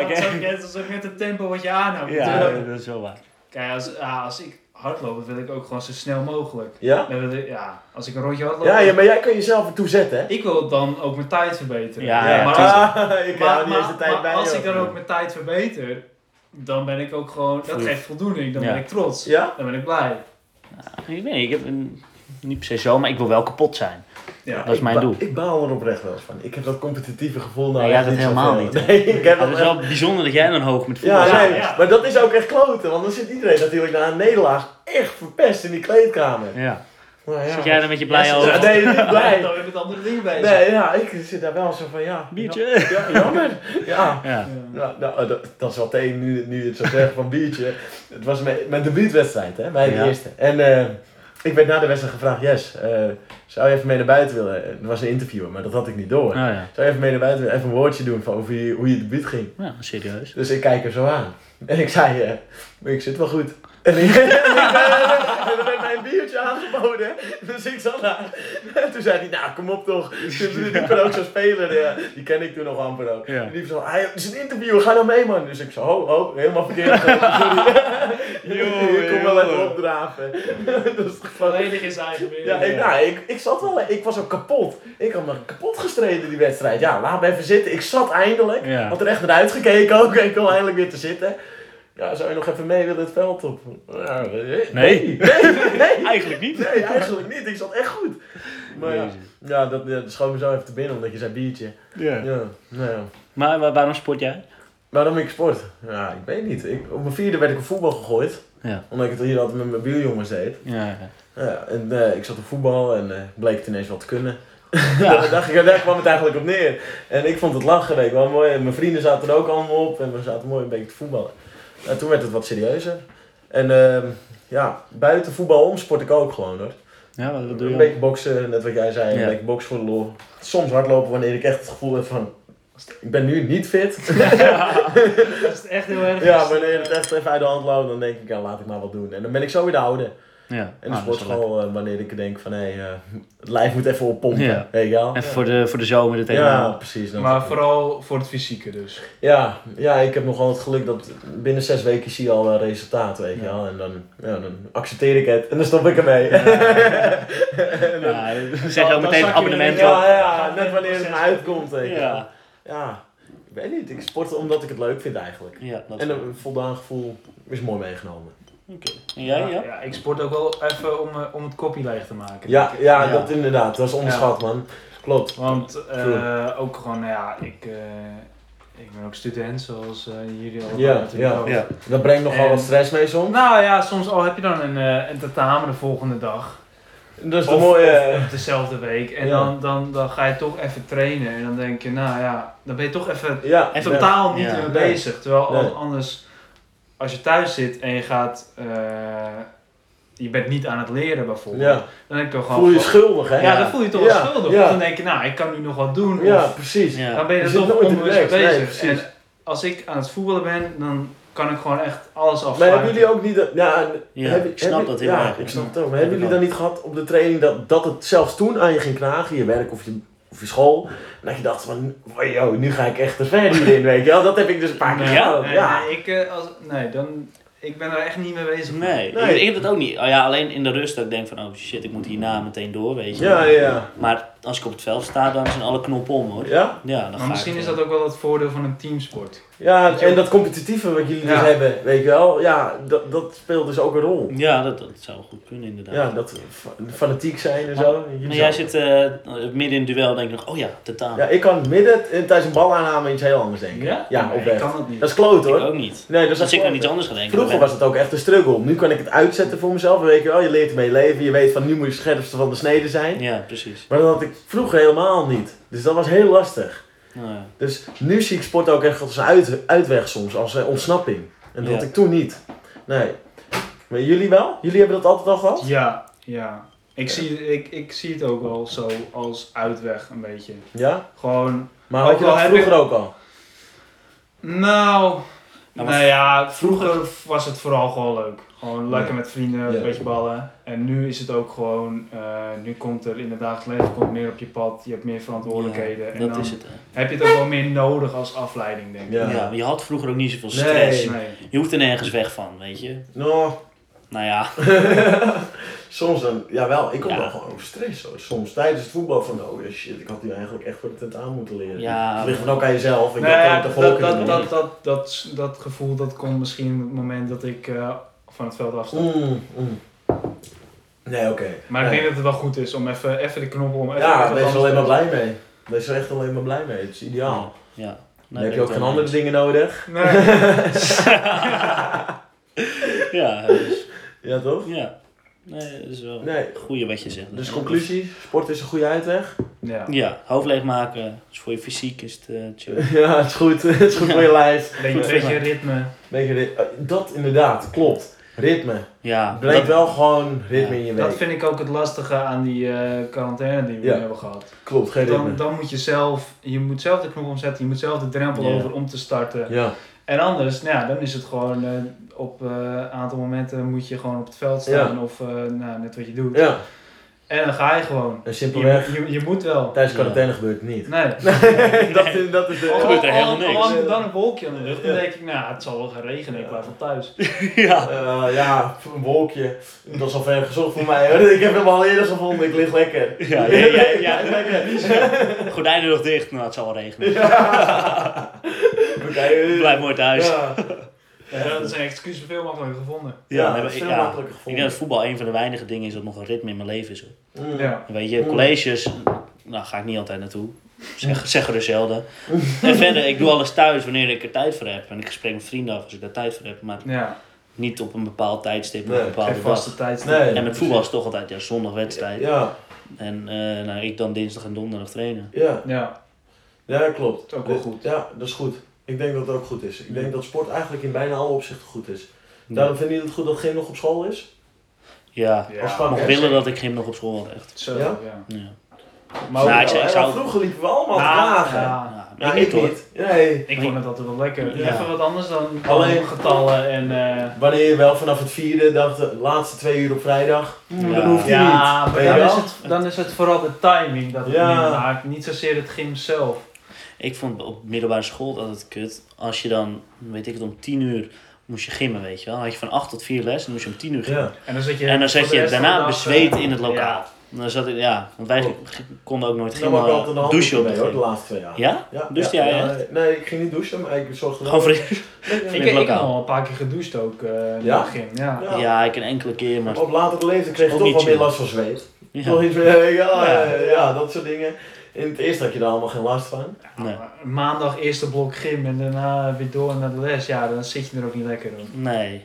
[SPEAKER 2] dat, is ook net, dat is ook net het tempo wat je aanhoudt.
[SPEAKER 3] ja,
[SPEAKER 2] natuurlijk.
[SPEAKER 3] dat is wel waar.
[SPEAKER 2] Kijk, als, ah, als ik hardlopen wil ik ook gewoon zo snel mogelijk.
[SPEAKER 4] Ja?
[SPEAKER 2] Dan wil ik- ja, als ik een rondje hardloop,
[SPEAKER 4] Ja, ja, maar jij kan jezelf ertoe zetten, hè?
[SPEAKER 2] ik wil dan ook mijn tijd verbeteren.
[SPEAKER 3] Ja, ja,
[SPEAKER 2] maar,
[SPEAKER 3] tuurlijk.
[SPEAKER 2] als,
[SPEAKER 4] Ah, ik
[SPEAKER 2] maar-
[SPEAKER 4] hou niet eens de
[SPEAKER 2] maar-
[SPEAKER 4] tijd
[SPEAKER 2] maar
[SPEAKER 4] bij.
[SPEAKER 2] als
[SPEAKER 4] joh.
[SPEAKER 2] ik dan ook mijn tijd verbeter, dan ben ik ook gewoon, dat
[SPEAKER 3] Voel je-
[SPEAKER 2] geeft voldoening, dan
[SPEAKER 3] Ja.
[SPEAKER 2] ben ik trots.
[SPEAKER 4] Ja?
[SPEAKER 2] Dan ben ik blij.
[SPEAKER 3] Ik weet niet, ik heb een, niet per se zo, maar ik wil wel kapot zijn.
[SPEAKER 2] Ja.
[SPEAKER 3] Dat is
[SPEAKER 4] Ik
[SPEAKER 3] mijn
[SPEAKER 4] ba-
[SPEAKER 3] doel.
[SPEAKER 4] Ik baal er oprecht wel eens van. Ik heb dat competitieve gevoel nou
[SPEAKER 3] Nee, jij
[SPEAKER 4] echt
[SPEAKER 3] hebt het helemaal
[SPEAKER 4] zoveel.
[SPEAKER 3] niet,
[SPEAKER 4] Nee, ik
[SPEAKER 3] Het
[SPEAKER 4] heb dat
[SPEAKER 3] is
[SPEAKER 4] echt-
[SPEAKER 3] wel bijzonder dat jij dan hoog met voetbal
[SPEAKER 4] Ja,
[SPEAKER 3] zit.
[SPEAKER 4] nee,
[SPEAKER 2] ja.
[SPEAKER 4] maar dat is ook echt kloten. Want dan zit iedereen natuurlijk na een nederlaag echt verpest in die kleedkamer.
[SPEAKER 3] Ja.
[SPEAKER 4] Nou ja.
[SPEAKER 3] Zit jij dan met je blije
[SPEAKER 2] Ja, ze-
[SPEAKER 3] ogen?
[SPEAKER 4] Ja, nee, niet
[SPEAKER 2] Blij.
[SPEAKER 4] blij.
[SPEAKER 2] Dan ben ik met andere dingen bezig.
[SPEAKER 4] Nee, ja, ik zit daar wel zo van, ja.
[SPEAKER 3] Biertje.
[SPEAKER 4] Ja, jammer. Ja.
[SPEAKER 3] Ja.
[SPEAKER 2] Ja.
[SPEAKER 4] Nou, nou, dat, dat is wel tegen nu, nu je het zo zegt van biertje. Het was mijn, mijn debuutwedstrijd, hè? Mijn
[SPEAKER 3] Ja.
[SPEAKER 4] eerste. En eh, ik werd na de wedstrijd gevraagd, yes, eh, zou je even mee naar buiten willen? Er was een interviewer, maar dat had ik niet door.
[SPEAKER 3] Oh ja.
[SPEAKER 4] Zou je even mee naar buiten willen? Even een woordje doen van hoe je, hoe je debuut ging.
[SPEAKER 3] Ja, serieus.
[SPEAKER 4] Dus ik kijk er zo aan. En ik zei, eh, maar ik zit wel goed. En ik, en ik werd mij een biertje aangeboden. Dus ik zat daar. En toen zei hij, nou kom op toch. Die, die die kon ook zo spelen. Die, die ken ik toen nog amper ook.
[SPEAKER 3] Ja.
[SPEAKER 4] En die zo, hij, het is een interview, ga nou mee man. Dus ik zo, ho, ho, helemaal verkeerd. Sorry.
[SPEAKER 3] Joh,
[SPEAKER 4] ik kom wel even
[SPEAKER 3] joh.
[SPEAKER 4] opdraven. dus,
[SPEAKER 2] Volledig in zijn eigen wereld.
[SPEAKER 4] ja, ik, nou, ik, ik zat wel, ik was ook kapot. Ik had me kapot gestreden die wedstrijd. Ja, laat me even zitten. Ik zat eindelijk.
[SPEAKER 3] Ja.
[SPEAKER 4] Had er echt naar uitgekeken ook. Ik kon eindelijk weer te zitten. Ja, zou je nog even mee willen het veld op? Ja, eh,
[SPEAKER 3] Nee.
[SPEAKER 4] Nee, nee,
[SPEAKER 3] Eigenlijk niet.
[SPEAKER 4] nee, eigenlijk niet. Ik zat echt goed. Maar ja, ja dat, ja, dat schoot me zo even te binnen omdat je zei biertje. Ja, nou ja.
[SPEAKER 3] Maar wa- waarom sport jij?
[SPEAKER 4] Waarom ik sport? Ja, ik weet niet. Ik, op mijn vierde werd ik op voetbal gegooid.
[SPEAKER 3] Ja.
[SPEAKER 4] Omdat ik het hier altijd met mijn buurjongens deed.
[SPEAKER 3] Ja, ja.
[SPEAKER 4] Ja, en eh, ik zat op voetbal en eh, bleek het ineens wat te kunnen.
[SPEAKER 3] Ja.
[SPEAKER 4] daar, dacht ik, daar kwam het eigenlijk op neer. En ik vond het lachen, weet ik wel mooi. En mijn vrienden zaten er ook allemaal op en we zaten mooi een beetje te voetballen. En toen werd het wat serieuzer. En ehm, ja, buiten voetbal om sport ik ook gewoon hoor.
[SPEAKER 3] Ja, wat, wat doe
[SPEAKER 4] Een
[SPEAKER 3] je?
[SPEAKER 4] beetje boksen, net wat jij zei,
[SPEAKER 3] Ja.
[SPEAKER 4] een beetje boksen voor de lol. Soms hardlopen wanneer ik echt het gevoel heb van, ik ben nu niet fit.
[SPEAKER 2] Dat is echt heel erg.
[SPEAKER 4] ja, wanneer het echt even uit de hand loopt, dan denk ik, ja laat ik maar wat doen. En dan ben ik zo weer de oude.
[SPEAKER 3] Ja.
[SPEAKER 4] En de
[SPEAKER 3] nou, dat is wel lekker.
[SPEAKER 4] sportschool, eh, wanneer ik denk van hé, eh, het lijf moet even oppompen.
[SPEAKER 3] Ja.
[SPEAKER 4] Weet je wel?
[SPEAKER 3] Even voor de, voor de zomer dit
[SPEAKER 4] Ja,
[SPEAKER 3] helemaal.
[SPEAKER 4] precies. dat-
[SPEAKER 2] Maar vooral voor het fysieke dus.
[SPEAKER 4] ja, ja, ik heb nogal het geluk dat binnen zes weken zie je al eh, resultaat, weet je
[SPEAKER 2] Ja.
[SPEAKER 4] wel. En dan, ja, dan accepteer ik het en dan stop ik ermee. Ja,
[SPEAKER 3] Ja, dan zeg je
[SPEAKER 2] Dan
[SPEAKER 3] ook meteen
[SPEAKER 2] zak
[SPEAKER 3] het
[SPEAKER 2] je weer in,
[SPEAKER 3] abonnement op.
[SPEAKER 4] ja, net wanneer het me uitkomt. Weet je wel.
[SPEAKER 3] Ja.
[SPEAKER 4] ja, ik weet niet. Ik sport omdat ik het leuk vind eigenlijk.
[SPEAKER 3] Ja, dat
[SPEAKER 4] En
[SPEAKER 3] is
[SPEAKER 4] een voldaan gevoel is mooi meegenomen.
[SPEAKER 3] Oké. En jij, ja?
[SPEAKER 2] ik sport ook wel even om, eh, om het kopje leeg te maken.
[SPEAKER 4] Ja, ja,
[SPEAKER 3] Ja.
[SPEAKER 4] dat inderdaad. Dat is onderschat, man. Klopt.
[SPEAKER 2] Want eh,
[SPEAKER 4] True.
[SPEAKER 2] ook gewoon, nou ja, ik, eh, ik ben ook student, zoals eh, jullie allemaal
[SPEAKER 4] Ja,
[SPEAKER 2] natuurlijk
[SPEAKER 4] ja.
[SPEAKER 2] ook.
[SPEAKER 3] Ja.
[SPEAKER 4] Dat brengt nogal
[SPEAKER 2] En-
[SPEAKER 4] wat stress mee soms.
[SPEAKER 2] Nou ja, soms al heb je dan een, eh, een tentamen de volgende dag.
[SPEAKER 4] Dat is de
[SPEAKER 2] Of-
[SPEAKER 4] mooie...
[SPEAKER 2] Of dezelfde week. En
[SPEAKER 4] Ja.
[SPEAKER 2] dan, dan, dan ga je toch even trainen. En dan denk je, nou ja, dan ben je toch even
[SPEAKER 4] Ja,
[SPEAKER 3] En
[SPEAKER 4] ja.
[SPEAKER 2] totaal niet
[SPEAKER 3] Ja.
[SPEAKER 2] mee
[SPEAKER 4] Nee.
[SPEAKER 2] bezig. Terwijl
[SPEAKER 4] Nee.
[SPEAKER 2] al- anders, als je thuis zit en je gaat, eh, je bent niet aan het leren bijvoorbeeld.
[SPEAKER 4] Ja.
[SPEAKER 2] Dan denk ik toch gewoon...
[SPEAKER 4] Voel je
[SPEAKER 2] van-
[SPEAKER 4] schuldig, hè?
[SPEAKER 2] ja, dan voel je toch
[SPEAKER 4] Ja,
[SPEAKER 2] wel schuldig.
[SPEAKER 4] ja.
[SPEAKER 2] Of dan denk je, nou, ik kan nu nog wat doen.
[SPEAKER 4] Ja,
[SPEAKER 2] Of,
[SPEAKER 4] precies. Ja.
[SPEAKER 3] Ja.
[SPEAKER 2] dan ben je
[SPEAKER 4] Je
[SPEAKER 2] er
[SPEAKER 4] zit
[SPEAKER 2] toch
[SPEAKER 4] nooit in de
[SPEAKER 2] onbewust
[SPEAKER 4] relax. Nee,
[SPEAKER 2] bezig.
[SPEAKER 4] precies.
[SPEAKER 2] en als ik aan het voetballen ben, dan kan ik gewoon echt alles
[SPEAKER 4] Maar
[SPEAKER 2] afsluiten.
[SPEAKER 4] hebben jullie ook niet... dat- Ja,
[SPEAKER 3] Ja,
[SPEAKER 4] heb-
[SPEAKER 3] ik snap
[SPEAKER 4] heb-
[SPEAKER 3] dat heel
[SPEAKER 4] ja,
[SPEAKER 3] erg.
[SPEAKER 4] ik snap
[SPEAKER 3] Ja.
[SPEAKER 4] het ook. Maar
[SPEAKER 3] Heb
[SPEAKER 4] hebben
[SPEAKER 3] ik
[SPEAKER 4] jullie dan niet gehad op de training dat, dat het zelfs toen aan je ging knagen, je werk of je, of je school, en dat je dacht van, yo, nu ga ik echt te ver hierin, weet je wel? Dat heb ik dus een paar keer
[SPEAKER 2] Nee,
[SPEAKER 4] gedaan.
[SPEAKER 2] nee,
[SPEAKER 4] ja.
[SPEAKER 2] nee, ik, eh, als, nee, dan, ik ben er echt niet mee bezig.
[SPEAKER 3] Nee,
[SPEAKER 4] Nee.
[SPEAKER 3] Ik, ik heb dat ook niet. Oh ja, alleen in de rust dat ik denk van, oh shit, ik moet hierna meteen door, weet je.
[SPEAKER 4] Ja, ja.
[SPEAKER 3] Maar als ik op het veld sta, dan zijn alle knoppen om, hoor.
[SPEAKER 4] Ja?
[SPEAKER 3] Ja, dan
[SPEAKER 2] Maar
[SPEAKER 3] ga
[SPEAKER 2] misschien
[SPEAKER 3] ik,
[SPEAKER 2] is
[SPEAKER 3] eh,
[SPEAKER 2] dat ook wel het voordeel van een teamsport.
[SPEAKER 4] Ja, en dat competitieve wat jullie dus
[SPEAKER 2] Ja.
[SPEAKER 4] hebben, weet je wel? Ja, dat, dat speelt dus ook een rol.
[SPEAKER 3] Ja, dat, dat zou goed kunnen, inderdaad.
[SPEAKER 4] Ja, dat fa- fanatiek zijn en
[SPEAKER 3] Maar-
[SPEAKER 4] zo.
[SPEAKER 3] Maar
[SPEAKER 4] Jullie
[SPEAKER 3] jij
[SPEAKER 4] zijn-
[SPEAKER 3] zit eh, midden in het duel denk ik nog, oh ja, totaal.
[SPEAKER 4] Ja, ik kan midden en tijdens een bal aanname iets heel anders denken. Ja,
[SPEAKER 2] Nee, ik
[SPEAKER 4] oprecht.
[SPEAKER 2] kan dat niet.
[SPEAKER 4] Dat is kloot
[SPEAKER 3] ik
[SPEAKER 4] hoor.
[SPEAKER 3] ook niet.
[SPEAKER 4] Nee, dat is
[SPEAKER 3] Dus
[SPEAKER 4] echt
[SPEAKER 3] ik
[SPEAKER 4] kloot.
[SPEAKER 3] kan iets anders gaan denken.
[SPEAKER 4] Vroeger was het ook echt een struggle. Nu kan ik het uitzetten voor mezelf. Weet je wel, je leert ermee leven. Je weet van nu moet je scherpste van de snede zijn.
[SPEAKER 3] Ja, precies.
[SPEAKER 4] Maar dat had ik vroeger helemaal niet. Dus dat was heel lastig.
[SPEAKER 3] Nou ja.
[SPEAKER 4] Dus nu zie ik sport ook echt als een uit, uitweg soms, als een ontsnapping. En dat
[SPEAKER 3] Ja.
[SPEAKER 4] had ik toen niet. Nee. Maar jullie wel? Jullie hebben dat altijd al gehad?
[SPEAKER 2] Ja, ja. Ik, Zie, ik, ik zie het ook wel zo als uitweg een beetje.
[SPEAKER 4] Ja?
[SPEAKER 2] Gewoon,
[SPEAKER 4] Maar
[SPEAKER 2] Ook
[SPEAKER 4] had je
[SPEAKER 2] wel
[SPEAKER 4] dat
[SPEAKER 2] heb ik-
[SPEAKER 4] vroeger ook al?
[SPEAKER 2] nou...
[SPEAKER 3] maar
[SPEAKER 2] nou ja, vroeger was het vooral gewoon leuk. Gewoon lekker met vrienden,
[SPEAKER 4] Ja.
[SPEAKER 2] een beetje ballen. En nu is het ook gewoon... eh, nu komt er in het dagelijks leven komt meer op je pad. Je hebt meer verantwoordelijkheden.
[SPEAKER 3] Ja,
[SPEAKER 2] en
[SPEAKER 3] dat
[SPEAKER 2] dan
[SPEAKER 3] is het. hè.
[SPEAKER 2] heb je het ook wel meer nodig als afleiding, denk ik.
[SPEAKER 4] Ja.
[SPEAKER 3] Ja. maar je had vroeger ook niet zoveel
[SPEAKER 4] Nee.
[SPEAKER 3] stress.
[SPEAKER 2] Nee.
[SPEAKER 3] Je hoeft er nergens weg van, weet je.
[SPEAKER 4] Nou,
[SPEAKER 3] Nou ja,
[SPEAKER 4] Soms dan, jawel, ik kom
[SPEAKER 3] Ja.
[SPEAKER 4] wel gewoon over stress. Hoor. Soms tijdens het voetbal van, oh ja, shit, ik had nu eigenlijk echt voor de tentaan moeten leren.
[SPEAKER 3] Ja.
[SPEAKER 4] Het ligt dan ook aan jezelf. Ik
[SPEAKER 2] Nou
[SPEAKER 4] had
[SPEAKER 2] ja,
[SPEAKER 4] ook de volgende
[SPEAKER 2] dat, dat,
[SPEAKER 4] keer.
[SPEAKER 2] dat, dat, dat, dat gevoel dat komt misschien op het moment dat ik eh, van het veld afstap.
[SPEAKER 4] Mm, mm. Nee, oké.
[SPEAKER 2] Maar ik
[SPEAKER 4] Nee.
[SPEAKER 2] denk dat het wel goed is om even, even de knop om. Even
[SPEAKER 4] Ja,
[SPEAKER 2] wat
[SPEAKER 4] wees er
[SPEAKER 2] anders
[SPEAKER 4] alleen maar
[SPEAKER 2] te
[SPEAKER 4] blij mee. Wees er echt alleen maar blij mee. Het is ideaal.
[SPEAKER 3] ja.
[SPEAKER 4] Dan
[SPEAKER 3] Nee,
[SPEAKER 4] heb
[SPEAKER 3] ben
[SPEAKER 4] je ook
[SPEAKER 3] ik
[SPEAKER 4] geen
[SPEAKER 3] wel
[SPEAKER 4] andere
[SPEAKER 3] mee
[SPEAKER 4] dingen nodig.
[SPEAKER 2] doen. Nee.
[SPEAKER 3] eens. Ja, dus,
[SPEAKER 4] Ja, toch?
[SPEAKER 3] ja. Nee, dat is wel
[SPEAKER 4] Nee.
[SPEAKER 3] een goede wat je zegt.
[SPEAKER 4] Dus
[SPEAKER 3] Ja.
[SPEAKER 4] conclusie, sport is een goede uitweg.
[SPEAKER 2] Ja.
[SPEAKER 3] Ja, hoofd leegmaken. Dus voor je fysiek is het eh, chill.
[SPEAKER 4] Ja, het is goed. Het is goed voor je lijf.
[SPEAKER 2] Beetje, beetje ritme.
[SPEAKER 4] Beetje rit- eh, Dat inderdaad, klopt. Ritme.
[SPEAKER 3] Ja,
[SPEAKER 4] Blijkt wel gewoon ritme
[SPEAKER 3] Ja.
[SPEAKER 4] in je
[SPEAKER 2] Dat
[SPEAKER 4] week.
[SPEAKER 2] vind ik ook het lastige aan die eh, quarantaine die we
[SPEAKER 4] Ja.
[SPEAKER 2] nu hebben gehad.
[SPEAKER 4] Klopt, geen ritme.
[SPEAKER 2] Dan, dan moet je zelf, je moet zelf de knop omzetten, je moet zelf de drempel
[SPEAKER 3] Ja.
[SPEAKER 2] over om te starten.
[SPEAKER 4] Ja,
[SPEAKER 2] En anders, nou ja, dan is het gewoon eh, op eh, een aantal momenten moet je gewoon op het veld staan of eh, nou, net wat je doet.
[SPEAKER 4] ja.
[SPEAKER 2] En dan ga je gewoon.
[SPEAKER 4] En
[SPEAKER 2] Je,
[SPEAKER 4] simpelweg,
[SPEAKER 2] je, je moet wel.
[SPEAKER 4] tijdens quarantaine gebeurt het niet.
[SPEAKER 2] Nee.
[SPEAKER 4] dat, is- dat is
[SPEAKER 2] Al-
[SPEAKER 4] de...
[SPEAKER 3] gebeurt er
[SPEAKER 2] al-
[SPEAKER 3] helemaal
[SPEAKER 2] al-
[SPEAKER 3] niks.
[SPEAKER 2] Al hangt er dan een wolkje aan de lucht, dan
[SPEAKER 4] Ja.
[SPEAKER 2] denk ik, nou, het zal wel gaan regenen, ik blijf wel thuis.
[SPEAKER 3] ja.
[SPEAKER 4] Eh, ja, een wolkje. Dat is al ver gezocht voor mij. Hoor. Ik heb hem al eerder gevonden. Ik lig lekker.
[SPEAKER 3] Ja, ja, ja, ja.
[SPEAKER 4] Ik lig lekker.
[SPEAKER 3] Gordijnen nog dicht. Nou, het zal wel regenen.
[SPEAKER 4] Ja. We kijken.
[SPEAKER 3] Blijf mooi thuis. Ja,
[SPEAKER 4] Ja.
[SPEAKER 2] Ja, dat zijn excuses veel makkelijker gevonden.
[SPEAKER 4] Ja,
[SPEAKER 3] nee,
[SPEAKER 4] dat
[SPEAKER 3] maar
[SPEAKER 4] is
[SPEAKER 3] ik,
[SPEAKER 4] veel
[SPEAKER 3] ja.
[SPEAKER 4] makkelijker
[SPEAKER 3] ik
[SPEAKER 4] gevonden.
[SPEAKER 3] denk dat voetbal een van de weinige dingen is dat nog een ritme in mijn leven is. hoor.
[SPEAKER 4] Mm.
[SPEAKER 2] Ja.
[SPEAKER 3] Weet je,
[SPEAKER 4] Mm.
[SPEAKER 3] colleges, nou ga ik niet altijd naartoe. Zeg, zeg er zelden. En verder, ik doe alles thuis wanneer ik er tijd voor heb. En ik spreek mijn vrienden af als ik daar tijd voor heb. Maar
[SPEAKER 2] Ja,
[SPEAKER 3] niet op een bepaald tijdstip,
[SPEAKER 4] Nee,
[SPEAKER 3] op een
[SPEAKER 2] geen
[SPEAKER 3] bepaalde dag.
[SPEAKER 2] vaste tijd.
[SPEAKER 4] Nee.
[SPEAKER 3] En met voetbal is het toch altijd ja, zondag wedstrijd.
[SPEAKER 4] Ja,
[SPEAKER 3] En eh, nou, ik dan dinsdag en donderdag trainen.
[SPEAKER 4] ja,
[SPEAKER 2] Ja,
[SPEAKER 4] ja, dat klopt.
[SPEAKER 2] is ook wel
[SPEAKER 4] Dit-
[SPEAKER 2] goed.
[SPEAKER 4] Ja, dat is goed. Ik denk dat het ook goed is. Ik denk dat sport eigenlijk in bijna alle opzichten goed is.
[SPEAKER 3] Ja.
[SPEAKER 4] Daarom vind je het goed dat geen nog op school is?
[SPEAKER 3] Ja,
[SPEAKER 2] Ja,
[SPEAKER 4] Als
[SPEAKER 3] ik
[SPEAKER 4] vak,
[SPEAKER 3] mag
[SPEAKER 4] hè?
[SPEAKER 3] willen dat ik gym nog op school had, echt.
[SPEAKER 2] Zo,
[SPEAKER 4] Ja? Oh,
[SPEAKER 2] ja.
[SPEAKER 3] Ja.
[SPEAKER 2] Maar
[SPEAKER 3] Nou,
[SPEAKER 2] ook-
[SPEAKER 3] ik zou- ik
[SPEAKER 4] Ja,
[SPEAKER 3] zou-
[SPEAKER 4] Vroeger liepen we allemaal te
[SPEAKER 2] Nou,
[SPEAKER 4] klagen. Ja,
[SPEAKER 2] ja.
[SPEAKER 3] Ja, maar ik niet hoor.
[SPEAKER 4] Nee.
[SPEAKER 2] Ik vond het altijd wel lekker.
[SPEAKER 3] Ja.
[SPEAKER 2] Even wat anders dan
[SPEAKER 4] Alleen-
[SPEAKER 2] alleen getallen en... eh
[SPEAKER 4] Wanneer je wel vanaf het vierde, dag, de laatste twee uur op vrijdag,
[SPEAKER 3] Ja.
[SPEAKER 4] dan hoeft hij
[SPEAKER 2] ja,
[SPEAKER 4] niet.
[SPEAKER 2] maar
[SPEAKER 4] Weet je
[SPEAKER 2] dan is,
[SPEAKER 4] wel?
[SPEAKER 2] het, dan is het vooral de timing dat het
[SPEAKER 4] Ja.
[SPEAKER 2] niet maakt. Niet zozeer het gym zelf.
[SPEAKER 3] Ik vond op middelbare school dat het kut. Als je dan, weet ik het, om tien uur moest je gymmen, weet je wel. Dan had je van acht tot vier les en dan moest je om tien uur gymmen.
[SPEAKER 4] Ja.
[SPEAKER 2] En dan zit je,
[SPEAKER 3] En dan zat
[SPEAKER 2] voor de
[SPEAKER 3] je
[SPEAKER 2] rest van de
[SPEAKER 3] daarna
[SPEAKER 2] dag,
[SPEAKER 3] bezweet
[SPEAKER 2] eh,
[SPEAKER 3] in het lokaal.
[SPEAKER 2] ja.
[SPEAKER 3] Dan zat ik, ja, want wij
[SPEAKER 4] Klopt.
[SPEAKER 3] g- konden ook nooit
[SPEAKER 4] Ik nam ook altijd
[SPEAKER 3] gymmen
[SPEAKER 4] een
[SPEAKER 3] eh,
[SPEAKER 4] handdoek
[SPEAKER 3] douchen op
[SPEAKER 4] mee,
[SPEAKER 3] de
[SPEAKER 4] hoor, de
[SPEAKER 3] gym.
[SPEAKER 4] laatste twee jaar.
[SPEAKER 3] Ja?
[SPEAKER 4] Ja,
[SPEAKER 3] Douchte
[SPEAKER 4] ja,
[SPEAKER 3] jij
[SPEAKER 4] ja.
[SPEAKER 3] echt?
[SPEAKER 4] Nee, ik ging niet douchen, maar ik zorgde
[SPEAKER 3] Gewoon
[SPEAKER 4] wel-
[SPEAKER 3] voor
[SPEAKER 2] Ik,
[SPEAKER 3] het
[SPEAKER 2] ik heb
[SPEAKER 3] lokaal.
[SPEAKER 2] al een paar keer gedoucht ook eh
[SPEAKER 4] Ja?
[SPEAKER 2] in het gym. Ja.
[SPEAKER 4] Ja.
[SPEAKER 3] Ja, ik een enkele keer, maar...
[SPEAKER 4] Op latere leeftijd kreeg je
[SPEAKER 3] Ook
[SPEAKER 4] toch
[SPEAKER 3] niet
[SPEAKER 4] wel meer
[SPEAKER 3] chill.
[SPEAKER 4] last van zweet. Toch
[SPEAKER 3] Ja,
[SPEAKER 4] iets meer, ja,
[SPEAKER 3] Ja.
[SPEAKER 4] ja, ja, dat soort dingen. In het eerst had je daar allemaal geen last van.
[SPEAKER 3] nee.
[SPEAKER 2] Maar Maandag eerste blok gym en daarna weer door naar de les. Ja, dan zit je er ook niet lekker in.
[SPEAKER 3] Nee.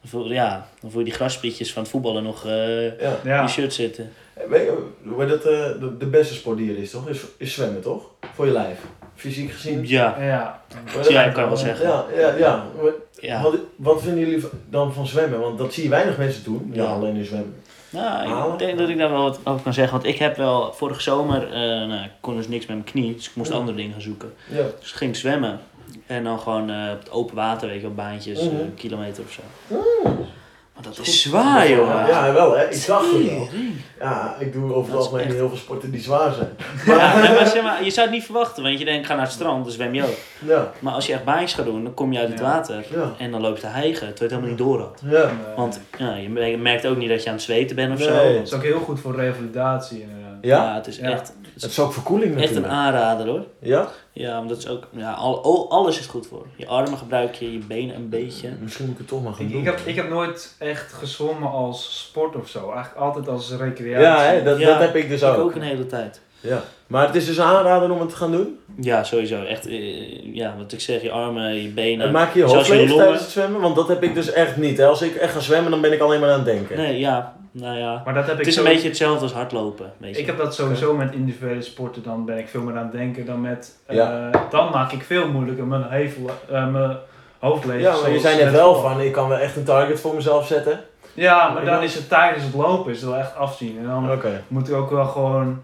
[SPEAKER 3] Dan voel, ja, dan voel je die grasprietjes van het voetballen nog eh, in
[SPEAKER 4] Ja.
[SPEAKER 2] Ja.
[SPEAKER 3] je shirt zitten.
[SPEAKER 4] Weet je hoe dat eh, de, de beste sport die er is, toch? Is, is zwemmen, toch? Voor je lijf. Fysiek gezien.
[SPEAKER 3] Ja,
[SPEAKER 2] Ja.
[SPEAKER 4] Maar
[SPEAKER 3] ja, ik kan wel zeggen.
[SPEAKER 4] Ja, ja, ja. Maar
[SPEAKER 3] Ja.
[SPEAKER 4] Wat, wat vinden jullie dan van zwemmen? Want dat zie je weinig mensen doen. Ja,
[SPEAKER 3] Ja.
[SPEAKER 4] alleen in zwemmen.
[SPEAKER 3] Nou,
[SPEAKER 4] Halen?
[SPEAKER 3] ik denk dat ik daar wel wat over kan zeggen. Want ik heb wel vorige zomer, eh, nou, ik kon dus niks met mijn knie, dus ik moest
[SPEAKER 4] Ja.
[SPEAKER 3] andere dingen gaan zoeken.
[SPEAKER 4] Ja.
[SPEAKER 3] Dus ik ging zwemmen. En dan gewoon eh, op het open water, weet je wel, baantjes, eh,
[SPEAKER 4] Mhm.
[SPEAKER 3] een kilometer of zo. Maar dat
[SPEAKER 4] Mm. Goed.
[SPEAKER 3] is zwaar, jongen.
[SPEAKER 4] Ja, wel hè. Ik dacht het wel.
[SPEAKER 3] Tering.
[SPEAKER 4] Ja, ik doe over
[SPEAKER 3] Dat
[SPEAKER 4] het
[SPEAKER 3] is
[SPEAKER 4] algemeen
[SPEAKER 3] echt-
[SPEAKER 4] heel veel sporten die zwaar zijn.
[SPEAKER 3] Ja, nee, maar zeg maar, je zou het niet verwachten, want je denkt, ik ga naar het strand, dan zwem je ook.
[SPEAKER 4] Ja,
[SPEAKER 3] Maar als je echt baantjes gaat doen, dan kom je uit het
[SPEAKER 2] Ja.
[SPEAKER 3] water
[SPEAKER 4] ja.
[SPEAKER 3] en dan loop je te hijgen, terwijl je het helemaal niet door had.
[SPEAKER 4] Ja,
[SPEAKER 2] En, eh,
[SPEAKER 3] Want ja, je me- je merkt ook niet dat je aan het zweten bent of
[SPEAKER 4] Nee.
[SPEAKER 3] zo.
[SPEAKER 2] Het is ook heel goed voor revalidatie eh, inderdaad.
[SPEAKER 4] ja.
[SPEAKER 3] het is
[SPEAKER 2] Ja.
[SPEAKER 3] echt,
[SPEAKER 4] Het is ook verkoeling
[SPEAKER 3] echt een
[SPEAKER 4] natuurlijk.
[SPEAKER 3] aanrader hoor.
[SPEAKER 4] Ja,
[SPEAKER 3] Ja, maar dat is ook. Ja, al, al- alles is goed voor. Je armen gebruik je, je benen een beetje.
[SPEAKER 4] misschien moet ik het toch maar gaan
[SPEAKER 2] Ik,
[SPEAKER 4] doen.
[SPEAKER 2] ik, heb, ik heb nooit echt gezwommen als sport of zo. Eigenlijk altijd als
[SPEAKER 4] ja,
[SPEAKER 2] recreatie.
[SPEAKER 4] hè, dat,
[SPEAKER 3] Ja.
[SPEAKER 4] dat heb ik dus
[SPEAKER 3] Dus ik
[SPEAKER 4] ook.
[SPEAKER 3] ook een hele tijd.
[SPEAKER 4] Ja. Maar het is dus een aanrader om het te gaan doen.
[SPEAKER 3] Ja, sowieso. Echt, eh, ja, wat ik zeg, je armen, je benen.
[SPEAKER 4] En maak je je
[SPEAKER 3] Zoals
[SPEAKER 4] hoofd
[SPEAKER 3] je
[SPEAKER 4] leeg
[SPEAKER 3] longen.
[SPEAKER 4] tijdens het zwemmen, want dat heb ik dus echt niet. Hè. Als ik echt ga zwemmen, dan ben ik alleen maar aan het denken.
[SPEAKER 3] Nee, ja, nou ja.
[SPEAKER 2] Maar dat heb
[SPEAKER 3] Het
[SPEAKER 2] ik
[SPEAKER 3] is een
[SPEAKER 2] zo-
[SPEAKER 3] beetje hetzelfde als hardlopen. Weet je.
[SPEAKER 2] Ik heb dat sowieso met individuele sporten, dan ben ik veel meer aan het denken dan met... eh,
[SPEAKER 4] Ja.
[SPEAKER 2] dan maak ik veel moeilijker mijn, hevel, eh, mijn hoofd leeg.
[SPEAKER 4] Ja, maar je
[SPEAKER 2] zoals
[SPEAKER 4] zei net
[SPEAKER 2] net
[SPEAKER 4] wel
[SPEAKER 2] voor.
[SPEAKER 4] van, ik kan wel echt een target voor mezelf zetten.
[SPEAKER 2] Ja, maar dan is het tijdens het lopen is het wel echt afzien. En dan
[SPEAKER 4] Oké.
[SPEAKER 2] moet ik ook wel gewoon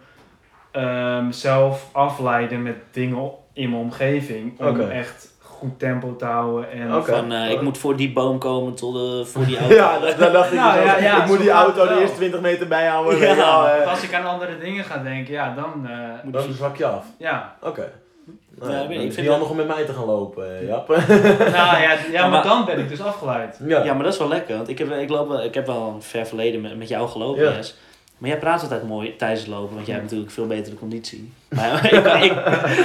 [SPEAKER 2] eh, mezelf afleiden met dingen in mijn omgeving. Om
[SPEAKER 4] Oké.
[SPEAKER 2] echt goed tempo te houden. En
[SPEAKER 4] Oké.
[SPEAKER 3] Van, eh, ik moet voor die boom komen tot eh, voor die auto.
[SPEAKER 4] Ja, dat, dat dacht ik
[SPEAKER 2] Nou,
[SPEAKER 4] dus
[SPEAKER 2] ja,
[SPEAKER 4] ook.
[SPEAKER 2] ja,
[SPEAKER 4] ik moet
[SPEAKER 2] zo
[SPEAKER 4] die
[SPEAKER 2] gaat
[SPEAKER 4] auto
[SPEAKER 2] het
[SPEAKER 4] de
[SPEAKER 2] wel.
[SPEAKER 4] eerste 20 meter bijhouden.
[SPEAKER 3] Ja.
[SPEAKER 4] Ja.
[SPEAKER 2] Want als ik aan andere dingen ga denken, ja, dan... eh,
[SPEAKER 4] dan zwak je af.
[SPEAKER 2] ja,
[SPEAKER 4] Oké. Nou,
[SPEAKER 3] Ja, ik weet niet,
[SPEAKER 4] dan is
[SPEAKER 3] ik
[SPEAKER 4] het
[SPEAKER 3] vind
[SPEAKER 4] niet
[SPEAKER 3] dat-
[SPEAKER 4] handig om met mij te gaan lopen, eh, Jap.
[SPEAKER 2] Nou ja, ja, maar
[SPEAKER 3] maar-
[SPEAKER 2] dan ben ik dus afgeleid.
[SPEAKER 4] ja.
[SPEAKER 3] Ja, maar dat is wel lekker. Want ik heb, ik loop, wel- ik heb wel een ver verleden met, met jou gelopen,
[SPEAKER 4] Ja.
[SPEAKER 3] Jess. Maar jij praat altijd mooi tijdens het lopen, want jij hebt natuurlijk veel betere conditie. Maar ik, kan, ik,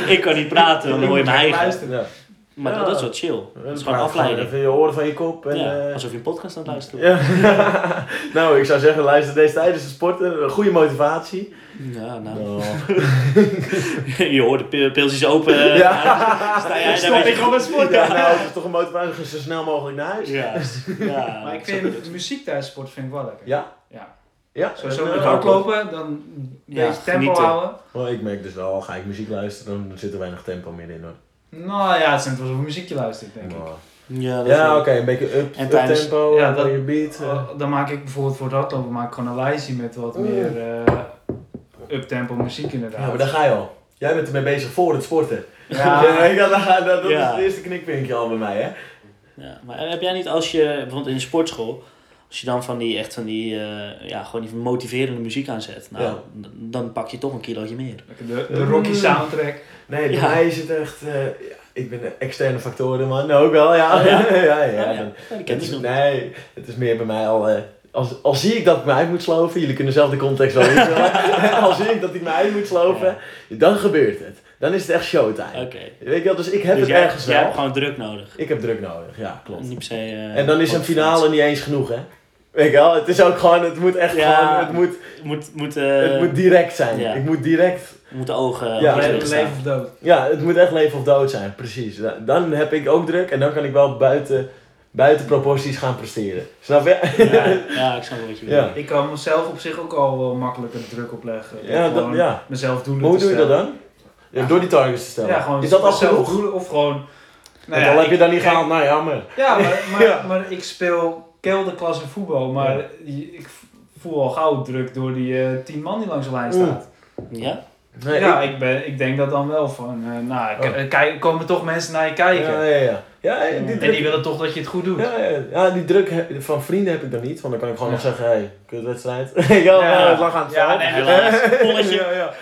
[SPEAKER 3] ik kan niet praten, want dan hoor je me eigen.
[SPEAKER 2] luisteren.
[SPEAKER 4] Ja.
[SPEAKER 3] Maar
[SPEAKER 4] Ja.
[SPEAKER 3] dat, dat is wel chill. Dat is gewoon
[SPEAKER 4] Maar
[SPEAKER 3] afleiding.
[SPEAKER 4] Even je oren van je kop. En,
[SPEAKER 3] Ja,
[SPEAKER 4] eh,
[SPEAKER 3] alsof je een podcast aan het luisteren bent.
[SPEAKER 4] Ja. nou, ik zou zeggen, luister deze tijdens de sporten. Goede motivatie.
[SPEAKER 3] Ja, nou.
[SPEAKER 4] Oh.
[SPEAKER 3] je hoort de pil- pilsjes open. eh,
[SPEAKER 4] Ja.
[SPEAKER 3] Sta jij daar
[SPEAKER 2] Stop
[SPEAKER 3] met
[SPEAKER 2] ik
[SPEAKER 3] je...
[SPEAKER 2] op het sport.
[SPEAKER 4] Ja, nou, het is toch een motivatie. Ga Zo snel mogelijk naar huis.
[SPEAKER 3] Juist. Ja,
[SPEAKER 2] Maar ik
[SPEAKER 3] dat is ook
[SPEAKER 2] vind
[SPEAKER 3] goed.
[SPEAKER 2] muziek tijdens sport vind ik wel lekker.
[SPEAKER 4] Ja.
[SPEAKER 2] Ja.
[SPEAKER 4] Ja.
[SPEAKER 2] Zo, zo
[SPEAKER 4] en,
[SPEAKER 2] met
[SPEAKER 4] eh,
[SPEAKER 2] hardlopen, dan een
[SPEAKER 3] Ja,
[SPEAKER 2] beetje tempo
[SPEAKER 3] genieten.
[SPEAKER 2] houden.
[SPEAKER 4] Oh, ik merk dus al, ga ik muziek luisteren, dan zit er weinig tempo meer in hoor.
[SPEAKER 2] Nou ja, het is net alsof je muziekje luistert, denk ik.
[SPEAKER 4] Maar-
[SPEAKER 3] Ja, dat is
[SPEAKER 4] Ja,
[SPEAKER 3] wel-
[SPEAKER 4] oké, een beetje up,
[SPEAKER 3] En
[SPEAKER 4] up
[SPEAKER 3] tijdens- Oh.
[SPEAKER 4] tempo,
[SPEAKER 2] Ja,
[SPEAKER 4] ja,
[SPEAKER 2] dat-
[SPEAKER 4] je beat. eh.
[SPEAKER 2] Eh, Dan maak ik bijvoorbeeld voor het hardlopen maak ik gewoon een lijstje met wat meer eh uptempo muziek inderdaad.
[SPEAKER 4] ja, maar daar ga je al. Jij bent ermee bezig voor het sporten. Ja,
[SPEAKER 2] Ja.
[SPEAKER 4] ik dacht, dat, dat is
[SPEAKER 3] Ja.
[SPEAKER 4] het eerste knikpuntje al bij mij, hè?
[SPEAKER 3] Ja, maar heb jij niet als je, bijvoorbeeld in de sportschool, als je dan van die echt van die, eh, ja, gewoon die motiverende muziek aanzet, nou,
[SPEAKER 4] Ja.
[SPEAKER 3] d- dan pak je toch een kilootje meer.
[SPEAKER 2] Lekker De, de
[SPEAKER 4] Mm.
[SPEAKER 2] Rocky soundtrack.
[SPEAKER 4] Nee, bij
[SPEAKER 3] Ja.
[SPEAKER 4] mij is het echt... eh, ja, ik ben de externe factoren, man. Ook wel, ja.
[SPEAKER 3] Oh,
[SPEAKER 4] ja,
[SPEAKER 3] ja?
[SPEAKER 4] ja,
[SPEAKER 3] Ja,
[SPEAKER 4] dan-
[SPEAKER 3] dat ken
[SPEAKER 4] Het
[SPEAKER 3] ik
[SPEAKER 4] is,
[SPEAKER 3] nog.
[SPEAKER 4] nee, het is meer bij mij al... eh, als, als zie ik dat ik me uit moet sloven, jullie kunnen zelf de context wel invullen. als zie ik dat ik me uit moet sloven, dan gebeurt het. Dan is het echt showtime.
[SPEAKER 3] Oké.
[SPEAKER 4] Weet je wel, dus ik heb
[SPEAKER 3] Dus
[SPEAKER 4] het
[SPEAKER 3] jij,
[SPEAKER 4] ergens
[SPEAKER 3] jij
[SPEAKER 4] wel.
[SPEAKER 3] hebt gewoon druk nodig.
[SPEAKER 4] Ik heb druk nodig, ja, klopt.
[SPEAKER 3] Niet per se, eh,
[SPEAKER 4] En dan is een
[SPEAKER 3] motiverend.
[SPEAKER 4] finale niet eens genoeg, hè? Weet je wel, het is ook gewoon, het moet echt
[SPEAKER 3] Ja.
[SPEAKER 4] gewoon, het moet,
[SPEAKER 3] Moet, moet,
[SPEAKER 4] het
[SPEAKER 3] eh
[SPEAKER 4] moet direct zijn.
[SPEAKER 3] ja.
[SPEAKER 4] Ik moet direct,
[SPEAKER 3] moet de ogen
[SPEAKER 4] Ja,
[SPEAKER 3] op je
[SPEAKER 4] nee,
[SPEAKER 3] gericht
[SPEAKER 2] leven,
[SPEAKER 3] staan.
[SPEAKER 2] leven of dood.
[SPEAKER 4] ja, het moet echt leven of dood zijn, precies. Da- Dan heb ik ook druk en dan kan ik wel buiten, buiten proporties gaan presteren. Snap je?
[SPEAKER 3] Ja, ja, ik snap wel wat je
[SPEAKER 4] Ja.
[SPEAKER 3] bedoelt.
[SPEAKER 2] Ik kan mezelf op zich ook al wel makkelijker druk opleggen. Door
[SPEAKER 4] Ja, dat,
[SPEAKER 2] gewoon
[SPEAKER 4] ja.
[SPEAKER 2] mezelf doelen
[SPEAKER 4] Maar hoe
[SPEAKER 2] te
[SPEAKER 4] doe je dat
[SPEAKER 2] stellen.
[SPEAKER 4] dan? Ja, door die targets te stellen.
[SPEAKER 2] Ja, gewoon
[SPEAKER 4] is dat al
[SPEAKER 2] mezelf
[SPEAKER 4] genoeg?
[SPEAKER 2] doelen of gewoon...
[SPEAKER 4] Want al heb
[SPEAKER 2] ik-
[SPEAKER 4] je dat niet
[SPEAKER 2] kijk,
[SPEAKER 4] gehaald, nou jammer.
[SPEAKER 2] Ja, maar, maar,
[SPEAKER 4] Ja.
[SPEAKER 2] maar ik speel kelderklasse voetbal, maar je- ik voel al gauw druk door die eh, tien man die langs de lijn staat.
[SPEAKER 3] Ja?
[SPEAKER 4] Nee,
[SPEAKER 2] ja,
[SPEAKER 4] ik-
[SPEAKER 2] ik, ben, ik denk dat dan wel van, eh, nou, k-
[SPEAKER 4] Oh.
[SPEAKER 2] eh, kijk, komen toch mensen naar je kijken.
[SPEAKER 4] ja, ja, ja. Ja, eh, die
[SPEAKER 2] En
[SPEAKER 4] druk-
[SPEAKER 2] die willen toch dat je het goed doet.
[SPEAKER 4] Ja, ja, ja, die druk he- van vrienden heb ik dan niet, want dan kan ik gewoon
[SPEAKER 2] Ja.
[SPEAKER 4] nog zeggen, hé, hey, kutwedstrijd. ja,
[SPEAKER 2] Ja.
[SPEAKER 4] het lag aan het
[SPEAKER 2] Ja,
[SPEAKER 4] veld.
[SPEAKER 2] nee,
[SPEAKER 3] helaas. Polletje.
[SPEAKER 4] ja, ja.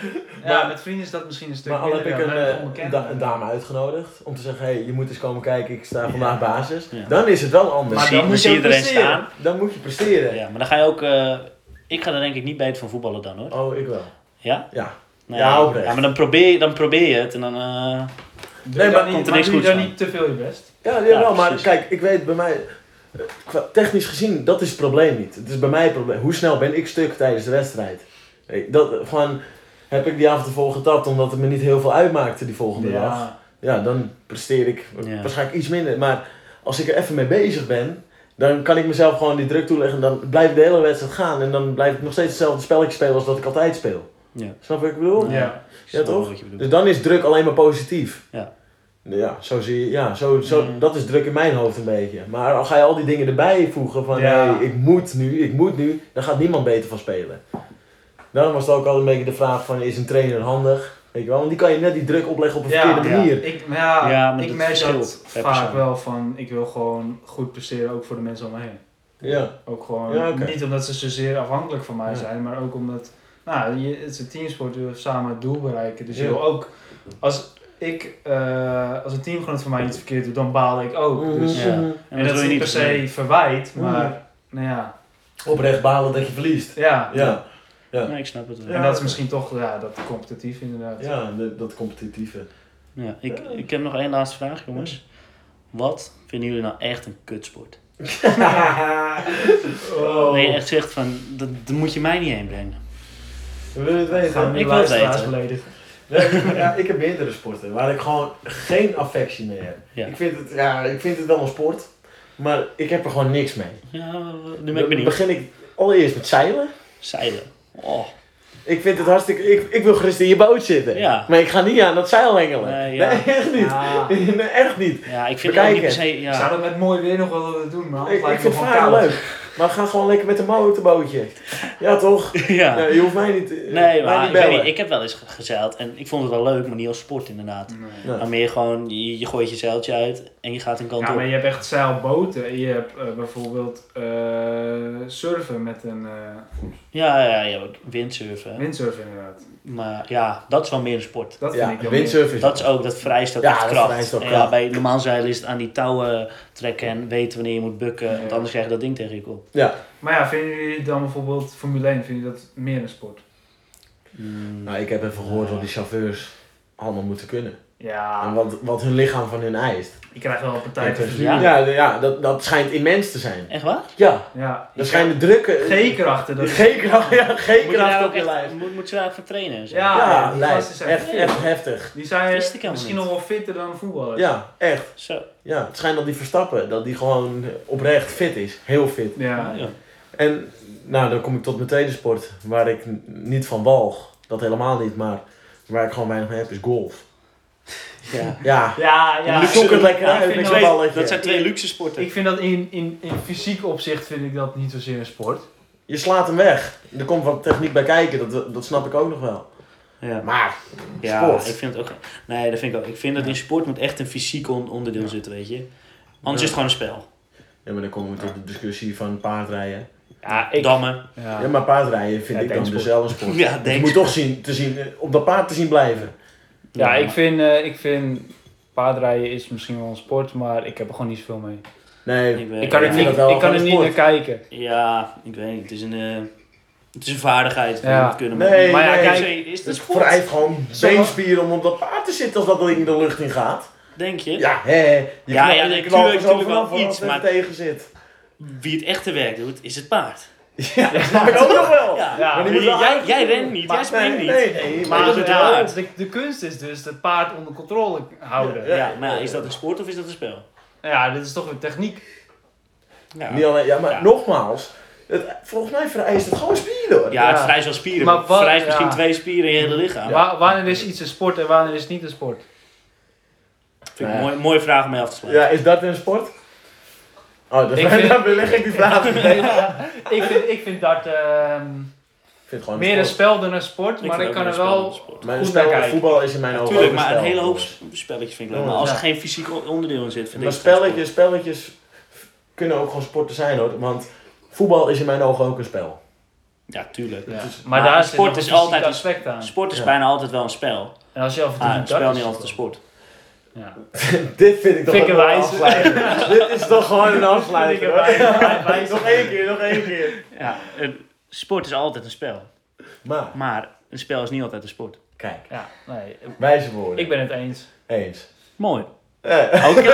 [SPEAKER 2] Ja,
[SPEAKER 4] Maar-
[SPEAKER 2] met vrienden is dat misschien een stuk
[SPEAKER 4] Maar al heb ik
[SPEAKER 2] minder,
[SPEAKER 4] een,
[SPEAKER 2] ja, maar
[SPEAKER 4] eh,
[SPEAKER 2] onbekenden.
[SPEAKER 4] da- een dame uitgenodigd om te zeggen, hé, hey, je moet eens komen kijken, ik sta vandaag basis.
[SPEAKER 3] Ja.
[SPEAKER 4] Dan is het wel anders.
[SPEAKER 2] Maar
[SPEAKER 3] zie-
[SPEAKER 2] dan
[SPEAKER 3] dan
[SPEAKER 2] moet je
[SPEAKER 3] zie je
[SPEAKER 2] ook
[SPEAKER 3] iedereen
[SPEAKER 2] presteren.
[SPEAKER 3] staan.
[SPEAKER 4] Dan moet je presteren.
[SPEAKER 3] Ja, maar dan ga je ook... eh, ik ga er denk ik niet bij het van voetballen dan, hoor.
[SPEAKER 4] Oh, ik wel.
[SPEAKER 3] Ja?
[SPEAKER 4] Ja.
[SPEAKER 3] Nee,
[SPEAKER 4] Ja, oprecht.
[SPEAKER 3] ja, maar dan probeer, je- dan probeer je het en dan... eh,
[SPEAKER 2] Doe
[SPEAKER 4] Nee,
[SPEAKER 2] je
[SPEAKER 4] maar
[SPEAKER 2] dan
[SPEAKER 3] komt
[SPEAKER 2] niet,
[SPEAKER 3] er
[SPEAKER 2] maar
[SPEAKER 3] niks
[SPEAKER 2] doe je
[SPEAKER 3] goeds
[SPEAKER 2] dan
[SPEAKER 3] van.
[SPEAKER 2] niet te veel je best.
[SPEAKER 4] Ja, ja,
[SPEAKER 3] Ja,
[SPEAKER 4] wel, maar
[SPEAKER 3] precies.
[SPEAKER 4] kijk, ik weet bij mij, eh, qua technisch gezien, dat is het probleem niet. Het is bij mij het probleem. Hoe snel ben ik stuk tijdens de wedstrijd? Ik- Dat, eh, gewoon, heb ik die avond ervoor getapt omdat het me niet heel veel uitmaakte die volgende dag. ja, dan presteer ik
[SPEAKER 3] Ja.
[SPEAKER 4] waarschijnlijk iets minder. Maar als ik er even mee bezig ben, dan kan ik mezelf gewoon die druk toeleggen. Dan blijft de hele wedstrijd gaan. En dan blijf ik nog steeds hetzelfde spelletje spelen als dat ik altijd speel.
[SPEAKER 3] Ja.
[SPEAKER 4] Snap je wat ik bedoel?
[SPEAKER 3] Ja.
[SPEAKER 2] Ja.
[SPEAKER 3] ik snap wel
[SPEAKER 4] toch?
[SPEAKER 3] wat je bedoelt.
[SPEAKER 4] Dus dan is druk alleen maar positief.
[SPEAKER 3] Ja.
[SPEAKER 4] Ja, zo zie je. Ja, zo, zo,
[SPEAKER 3] Mm.
[SPEAKER 4] dat is druk in mijn hoofd een beetje. Maar al ga je al die dingen erbij voegen van
[SPEAKER 2] Ja.
[SPEAKER 4] hey, ik moet nu, ik moet nu, dan gaat niemand beter van spelen. Daarom was het ook al een beetje de vraag van is een trainer handig? Weet je wel, want die kan je net die druk opleggen op een
[SPEAKER 2] Ja,
[SPEAKER 4] verkeerde
[SPEAKER 3] ja.
[SPEAKER 4] manier.
[SPEAKER 2] Ik, ja,
[SPEAKER 3] Ja, maar
[SPEAKER 2] ik
[SPEAKER 3] dat
[SPEAKER 2] merk dat
[SPEAKER 3] verschilt per
[SPEAKER 2] vaak
[SPEAKER 3] persoon.
[SPEAKER 2] wel van, ik wil gewoon goed presteren, ook voor de mensen om me heen.
[SPEAKER 4] Ja,
[SPEAKER 2] Ook gewoon,
[SPEAKER 4] Ja, oké.
[SPEAKER 2] niet omdat ze zozeer afhankelijk van mij
[SPEAKER 4] Ja.
[SPEAKER 2] zijn, maar ook omdat, nou, je, het is een teamsport, we samen het doel bereiken. Dus je
[SPEAKER 4] Ja.
[SPEAKER 2] wil ook, als ik, eh, als een teamgenoot van mij iets verkeerd doet, dan baal ik ook. Dus,
[SPEAKER 3] Ja.
[SPEAKER 2] En,
[SPEAKER 3] dat
[SPEAKER 2] dat is
[SPEAKER 3] wil je
[SPEAKER 2] niet per
[SPEAKER 3] niet dus
[SPEAKER 2] se verwijt,
[SPEAKER 4] Mhm.
[SPEAKER 2] maar, nou ja,
[SPEAKER 4] Oprecht balen dat je verliest.
[SPEAKER 2] ja.
[SPEAKER 4] Ja,
[SPEAKER 3] Nee, ik snap het wel.
[SPEAKER 4] Ja.
[SPEAKER 2] En dat is misschien toch, ja, dat competitief inderdaad.
[SPEAKER 4] ja de- dat competitieve.
[SPEAKER 3] Ja, ik, ik heb nog één laatste vraag, jongens. Wat vinden jullie nou echt een kutsport?
[SPEAKER 2] Oh.
[SPEAKER 3] Dat je echt zegt van, dat, dat moet je mij niet heen brengen.
[SPEAKER 4] We willen het weten.
[SPEAKER 2] Gaan we
[SPEAKER 3] Ik
[SPEAKER 2] de
[SPEAKER 3] wil het
[SPEAKER 2] luisteraars
[SPEAKER 3] weten.
[SPEAKER 2] beledigen.
[SPEAKER 4] Nee, ik- ja, ik heb meerdere sporten waar ik gewoon geen affectie mee heb.
[SPEAKER 3] Ja.
[SPEAKER 4] Ik, vind het, ja, ik vind het wel een sport, maar ik heb er gewoon niks mee.
[SPEAKER 3] Ja, nu ben ik
[SPEAKER 4] Dan
[SPEAKER 3] benieuwd.
[SPEAKER 4] begin ik allereerst met zeilen.
[SPEAKER 3] Zeilen. Oh,
[SPEAKER 4] Ik vind het hartstikke... Ik, ik wil gerust in je boot zitten.
[SPEAKER 3] Ja.
[SPEAKER 4] Maar ik ga niet aan dat zeil hengelen.
[SPEAKER 3] Nee, ja.
[SPEAKER 4] echt niet.
[SPEAKER 2] Ah.
[SPEAKER 4] Nee, echt niet.
[SPEAKER 3] ja, ik vind
[SPEAKER 4] Bekijk
[SPEAKER 3] het ook niet per
[SPEAKER 4] het.
[SPEAKER 3] se...
[SPEAKER 2] Ik zou
[SPEAKER 3] Ja,
[SPEAKER 2] dat met mooi weer nog wel willen doen, maar
[SPEAKER 4] Ik,
[SPEAKER 2] het lijkt
[SPEAKER 4] ik
[SPEAKER 2] me
[SPEAKER 4] vind
[SPEAKER 2] gewoon
[SPEAKER 4] varen
[SPEAKER 2] koud.
[SPEAKER 4] leuk. Maar ga gewoon lekker met een motorbootje. Ja, toch?
[SPEAKER 3] ja.
[SPEAKER 4] Nee, je hoeft mij niet, eh,
[SPEAKER 3] Nee,
[SPEAKER 4] mij
[SPEAKER 3] maar
[SPEAKER 4] niet
[SPEAKER 3] ik, weet
[SPEAKER 4] bellen.
[SPEAKER 3] niet, ik heb wel eens ge- gezeild en ik vond het wel leuk, maar niet als sport inderdaad.
[SPEAKER 2] Nee.
[SPEAKER 4] Nee.
[SPEAKER 3] Maar meer gewoon, je, je gooit je zeiltje uit en je gaat een kant
[SPEAKER 2] Ja,
[SPEAKER 3] op.
[SPEAKER 2] maar je hebt echt zeilboten. Je hebt eh, bijvoorbeeld eh, surfen met een eh
[SPEAKER 3] Ja, ja, ja, windsurfen.
[SPEAKER 2] windsurfen inderdaad.
[SPEAKER 3] Maar ja, dat is wel meer een sport.
[SPEAKER 2] Dat
[SPEAKER 4] Ja,
[SPEAKER 2] vind ik dan
[SPEAKER 4] windsurfen.
[SPEAKER 3] Dat is ook, dat vrijst ook
[SPEAKER 4] Ja,
[SPEAKER 3] echt
[SPEAKER 4] dat
[SPEAKER 3] kracht.
[SPEAKER 4] vrijst ook
[SPEAKER 3] En
[SPEAKER 4] kracht.
[SPEAKER 3] Ja, bij normaal zeilen is het aan die touwen trekken en weten wanneer je moet bukken, want
[SPEAKER 2] Ja.
[SPEAKER 3] anders krijg je dat ding tegen je kop.
[SPEAKER 4] Ja.
[SPEAKER 2] Maar ja, vinden jullie dan bijvoorbeeld Formule 1, vinden jullie dat meer een sport?
[SPEAKER 3] Mm,
[SPEAKER 4] Nou, ik heb even gehoord wat die chauffeurs allemaal moeten kunnen. En
[SPEAKER 2] Ja,
[SPEAKER 4] wat, wat hun lichaam van hun eist.
[SPEAKER 2] ik krijg wel een partij te verzuren.
[SPEAKER 4] ja, ja, ja, dat, dat schijnt immens te zijn.
[SPEAKER 3] Echt waar?
[SPEAKER 4] Ja,
[SPEAKER 2] Ja,
[SPEAKER 4] dat schijnt de drukke...
[SPEAKER 2] G-krachten. dat-
[SPEAKER 4] G-kracht, ja,
[SPEAKER 3] Moet je, daar
[SPEAKER 4] G-kracht op
[SPEAKER 3] ook
[SPEAKER 4] je
[SPEAKER 3] echt-
[SPEAKER 4] lijf.
[SPEAKER 3] moet, moet je daar ook voor trainen? en zo?
[SPEAKER 2] Ja.
[SPEAKER 4] Ja,
[SPEAKER 2] die
[SPEAKER 4] lijf.
[SPEAKER 2] gasten zijn
[SPEAKER 4] Echt,
[SPEAKER 2] fit.
[SPEAKER 4] echt heftig.
[SPEAKER 2] Die zijn
[SPEAKER 3] Wist ik helemaal
[SPEAKER 2] misschien
[SPEAKER 3] niet.
[SPEAKER 2] nog wel fitter dan voetballers.
[SPEAKER 4] Ja, echt.
[SPEAKER 3] Zo.
[SPEAKER 4] Ja, het schijnt dat die Verstappen, dat die gewoon oprecht fit is. Heel fit.
[SPEAKER 2] Ja.
[SPEAKER 3] Ah, ja.
[SPEAKER 4] En nou, dan kom ik tot mijn tweede sport, waar ik n- niet van walg. Dat helemaal niet, maar waar ik gewoon weinig mee heb, is golf.
[SPEAKER 3] Ja.
[SPEAKER 4] Ja,
[SPEAKER 2] Ja, ja.
[SPEAKER 4] die zoeken het lekker
[SPEAKER 2] Ja, ik
[SPEAKER 4] uit
[SPEAKER 2] vind
[SPEAKER 4] met
[SPEAKER 2] dat-
[SPEAKER 4] zo'n balletje.
[SPEAKER 3] Dat zijn twee luxe sporten.
[SPEAKER 2] Ik vind dat in, in, in fysiek opzicht vind ik dat niet zozeer een sport.
[SPEAKER 4] Je slaat hem weg. Er komt wat techniek bij kijken, dat, dat snap ik ook nog wel.
[SPEAKER 3] Ja.
[SPEAKER 4] Maar,
[SPEAKER 3] Ja,
[SPEAKER 4] sport.
[SPEAKER 3] ik vind het ook. Nee, dat vind ik ook. Ik vind dat in sport moet echt een fysiek on- onderdeel
[SPEAKER 4] Ja.
[SPEAKER 3] zitten, weet je. Anders
[SPEAKER 4] Ja.
[SPEAKER 3] is het gewoon een spel.
[SPEAKER 4] Ja, maar dan komen we tot de discussie van paardrijden.
[SPEAKER 2] Ja,
[SPEAKER 3] Dammen.
[SPEAKER 2] Ja.
[SPEAKER 4] Ja, maar paardrijden vind
[SPEAKER 2] Ja,
[SPEAKER 4] ik dan
[SPEAKER 2] denksport.
[SPEAKER 4] dus wel een sport.
[SPEAKER 3] Ja,
[SPEAKER 4] Je
[SPEAKER 3] denk
[SPEAKER 4] moet toch zien, te zien, eh, op dat paard te zien blijven.
[SPEAKER 2] Ja, ik vind, eh, ik vind paardrijden is misschien wel een sport, maar ik heb er gewoon niet zoveel mee.
[SPEAKER 4] Nee,
[SPEAKER 3] weet-
[SPEAKER 2] ik kan,
[SPEAKER 4] ja,
[SPEAKER 2] er
[SPEAKER 4] ik
[SPEAKER 2] niet,
[SPEAKER 4] vind dat wel
[SPEAKER 2] ik kan
[SPEAKER 4] gewoon
[SPEAKER 2] er
[SPEAKER 4] een
[SPEAKER 2] niet
[SPEAKER 4] sport.
[SPEAKER 2] naar kijken.
[SPEAKER 3] Ja, ik weet niet. Het is een, eh, het is een vaardigheid.
[SPEAKER 2] Ja.
[SPEAKER 3] Ja. Kunnen, maar-
[SPEAKER 4] Nee,
[SPEAKER 3] maar ja,
[SPEAKER 4] nee.
[SPEAKER 3] kijk, is het een
[SPEAKER 4] het
[SPEAKER 3] sport?
[SPEAKER 4] vereist gewoon
[SPEAKER 2] Zullen we-
[SPEAKER 4] beenspieren om op dat paard te zitten als dat ding de lucht in gaat.
[SPEAKER 3] Denk je?
[SPEAKER 4] Ja, hè. hè. Je
[SPEAKER 3] Ja,
[SPEAKER 4] knal-
[SPEAKER 3] ja,
[SPEAKER 4] je
[SPEAKER 3] nee,
[SPEAKER 4] knalt
[SPEAKER 3] tuurlijk,
[SPEAKER 4] er zo
[SPEAKER 3] tuurlijk
[SPEAKER 4] vanaf
[SPEAKER 3] wel
[SPEAKER 4] als
[SPEAKER 3] iets,
[SPEAKER 4] het
[SPEAKER 3] maar-
[SPEAKER 4] er tegen zit.
[SPEAKER 3] Wie het echte werk doet, is het paard.
[SPEAKER 4] Ja, dat snap ik ook nog wel.
[SPEAKER 3] Ja.
[SPEAKER 2] Ja.
[SPEAKER 4] Maar
[SPEAKER 3] Jij-
[SPEAKER 4] die moet wel
[SPEAKER 3] jij,
[SPEAKER 4] uit-
[SPEAKER 3] jij rent niet, jij
[SPEAKER 4] Maar-
[SPEAKER 3] springt
[SPEAKER 4] nee,
[SPEAKER 3] niet.
[SPEAKER 4] Nee, nee,
[SPEAKER 2] Maar
[SPEAKER 4] maar
[SPEAKER 3] dat
[SPEAKER 2] dat
[SPEAKER 3] is
[SPEAKER 2] het
[SPEAKER 3] het
[SPEAKER 2] wel-
[SPEAKER 3] waard.
[SPEAKER 2] de, de kunst is dus het paard onder controle houden. Ja,
[SPEAKER 4] Ja.
[SPEAKER 3] Ja, maar ja, is dat een sport of is dat een spel?
[SPEAKER 2] dit is toch weer techniek.
[SPEAKER 3] Ja,
[SPEAKER 4] Niet alleen, ja, maar
[SPEAKER 3] Ja.
[SPEAKER 4] nogmaals, het, volgens mij vereist het gewoon spieren. hoor.
[SPEAKER 3] ja het
[SPEAKER 2] Ja.
[SPEAKER 3] vereist wel spieren.
[SPEAKER 2] Maar
[SPEAKER 3] Maar
[SPEAKER 2] wat-
[SPEAKER 3] het vereist misschien
[SPEAKER 2] ja.
[SPEAKER 3] twee spieren in je hele lichaam.
[SPEAKER 2] Wa- wanneer is iets een sport en wanneer is het niet een sport?
[SPEAKER 3] Vind ik een
[SPEAKER 4] Ja.
[SPEAKER 3] mooie, mooie vraag om mee af te sluiten.
[SPEAKER 4] Ja, is dat een sport? Oh, dat
[SPEAKER 2] Ik vind-
[SPEAKER 4] dan beleg ik die vraag. Ik
[SPEAKER 2] ik, vind, ik vind dat ehm,
[SPEAKER 4] vind het gewoon
[SPEAKER 2] meer een
[SPEAKER 4] sport.
[SPEAKER 2] spel dan een sport, maar
[SPEAKER 3] vind
[SPEAKER 2] ik
[SPEAKER 3] ook
[SPEAKER 2] kan er
[SPEAKER 3] een spel
[SPEAKER 2] wel...
[SPEAKER 3] een sport.
[SPEAKER 4] Maar een
[SPEAKER 2] goed
[SPEAKER 4] spel,
[SPEAKER 2] naar kijken.
[SPEAKER 4] voetbal is in mijn ogen
[SPEAKER 3] Tuurlijk,
[SPEAKER 4] ook
[SPEAKER 3] maar een
[SPEAKER 4] spel.
[SPEAKER 3] hele hoop sp- spelletjes vind ik leuk.
[SPEAKER 4] Ja.
[SPEAKER 3] Maar als er
[SPEAKER 2] Ja.
[SPEAKER 3] geen fysiek o- onderdeel in zit, vind ik
[SPEAKER 4] Maar
[SPEAKER 3] het geen
[SPEAKER 4] spelletjes, spelletjes kunnen ook gewoon sporten zijn hoor. Want voetbal is in mijn ogen ook een spel.
[SPEAKER 3] sport. Ja, tuurlijk.
[SPEAKER 2] Ja.
[SPEAKER 4] Dus-
[SPEAKER 2] Maar,
[SPEAKER 3] maar
[SPEAKER 2] daar
[SPEAKER 3] sport
[SPEAKER 2] zit
[SPEAKER 3] is
[SPEAKER 2] nog een
[SPEAKER 3] altijd
[SPEAKER 2] fysiek
[SPEAKER 3] een
[SPEAKER 2] aspect aan.
[SPEAKER 3] Sport is
[SPEAKER 4] Ja.
[SPEAKER 3] bijna altijd wel een spel.
[SPEAKER 2] En als je af en toe
[SPEAKER 3] Ah,
[SPEAKER 2] doet,
[SPEAKER 3] een
[SPEAKER 2] dat
[SPEAKER 3] spel
[SPEAKER 2] is
[SPEAKER 3] niet altijd een sport.
[SPEAKER 2] Ja.
[SPEAKER 4] Dit vind ik toch
[SPEAKER 2] Vind ik een
[SPEAKER 4] ook wel een
[SPEAKER 2] wijze.
[SPEAKER 4] afsluiter. Dit is toch gewoon een
[SPEAKER 2] Vind
[SPEAKER 4] afsluiter.
[SPEAKER 2] ik een
[SPEAKER 4] hoor.
[SPEAKER 2] wij- wijze.
[SPEAKER 4] Nog één keer, nog één keer.
[SPEAKER 3] Ja, een- sport is altijd een spel.
[SPEAKER 4] Maar,
[SPEAKER 3] Maar een spel is niet altijd een sport.
[SPEAKER 4] kijk,
[SPEAKER 2] Ja, nee,
[SPEAKER 4] wijze woorden.
[SPEAKER 2] ik ben het eens.
[SPEAKER 4] Eens.
[SPEAKER 3] Mooi.
[SPEAKER 4] Eh,
[SPEAKER 3] Oké.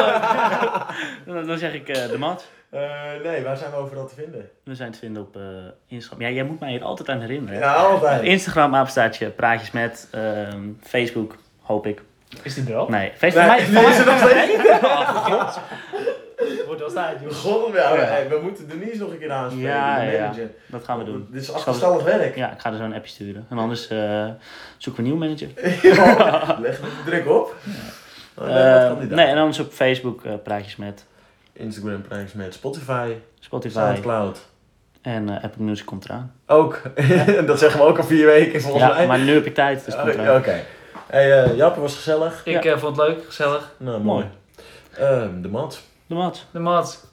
[SPEAKER 3] dan dan zeg ik eh, de mat.
[SPEAKER 4] eh, nee, waar zijn we overal te vinden?
[SPEAKER 3] We zijn te vinden op eh, Instagram. Ja, jij moet mij hier altijd aan herinneren. hè?
[SPEAKER 4] Ja, altijd.
[SPEAKER 3] Instagram, apenstaartje, praatjes met. ehm, Facebook, hoop ik.
[SPEAKER 2] Is die er al?
[SPEAKER 3] Nee, Facebook.
[SPEAKER 4] Nee,
[SPEAKER 3] Mij,
[SPEAKER 4] die is er nog steeds.
[SPEAKER 2] Wordt wel tijd, joh.
[SPEAKER 4] God, ja,
[SPEAKER 3] Ja.
[SPEAKER 4] hey, we moeten Denise nog een keer aanspreken,
[SPEAKER 3] Ja,
[SPEAKER 4] de
[SPEAKER 3] ja.
[SPEAKER 4] manager.
[SPEAKER 3] dat gaan we doen.
[SPEAKER 4] Dit is achterstallig werk.
[SPEAKER 3] Ja, ik ga er zo een appje sturen. En anders eh, zoeken we een nieuwe manager.
[SPEAKER 4] Leg de druk op. Oh, nee,
[SPEAKER 3] Eh,
[SPEAKER 4] dat kan niet.
[SPEAKER 3] Ah. nee, en anders op Facebook eh, praatjes met.
[SPEAKER 4] Instagram prijs met Spotify,
[SPEAKER 3] Spotify.
[SPEAKER 4] Soundcloud.
[SPEAKER 3] En eh, Apple Music komt eraan.
[SPEAKER 4] Ook. En dat zeggen we ook al vier weken volgens
[SPEAKER 3] Ja,
[SPEAKER 4] mij.
[SPEAKER 3] maar nu heb ik tijd, dus het komt
[SPEAKER 4] Oké.
[SPEAKER 3] eraan.
[SPEAKER 4] Oké. Hey, eh Jappe was gezellig.
[SPEAKER 2] Ik eh, vond het leuk, gezellig.
[SPEAKER 4] Nou,
[SPEAKER 3] Mooi.
[SPEAKER 4] mooi. Ehm, de mat.
[SPEAKER 3] De mat.
[SPEAKER 2] De maat.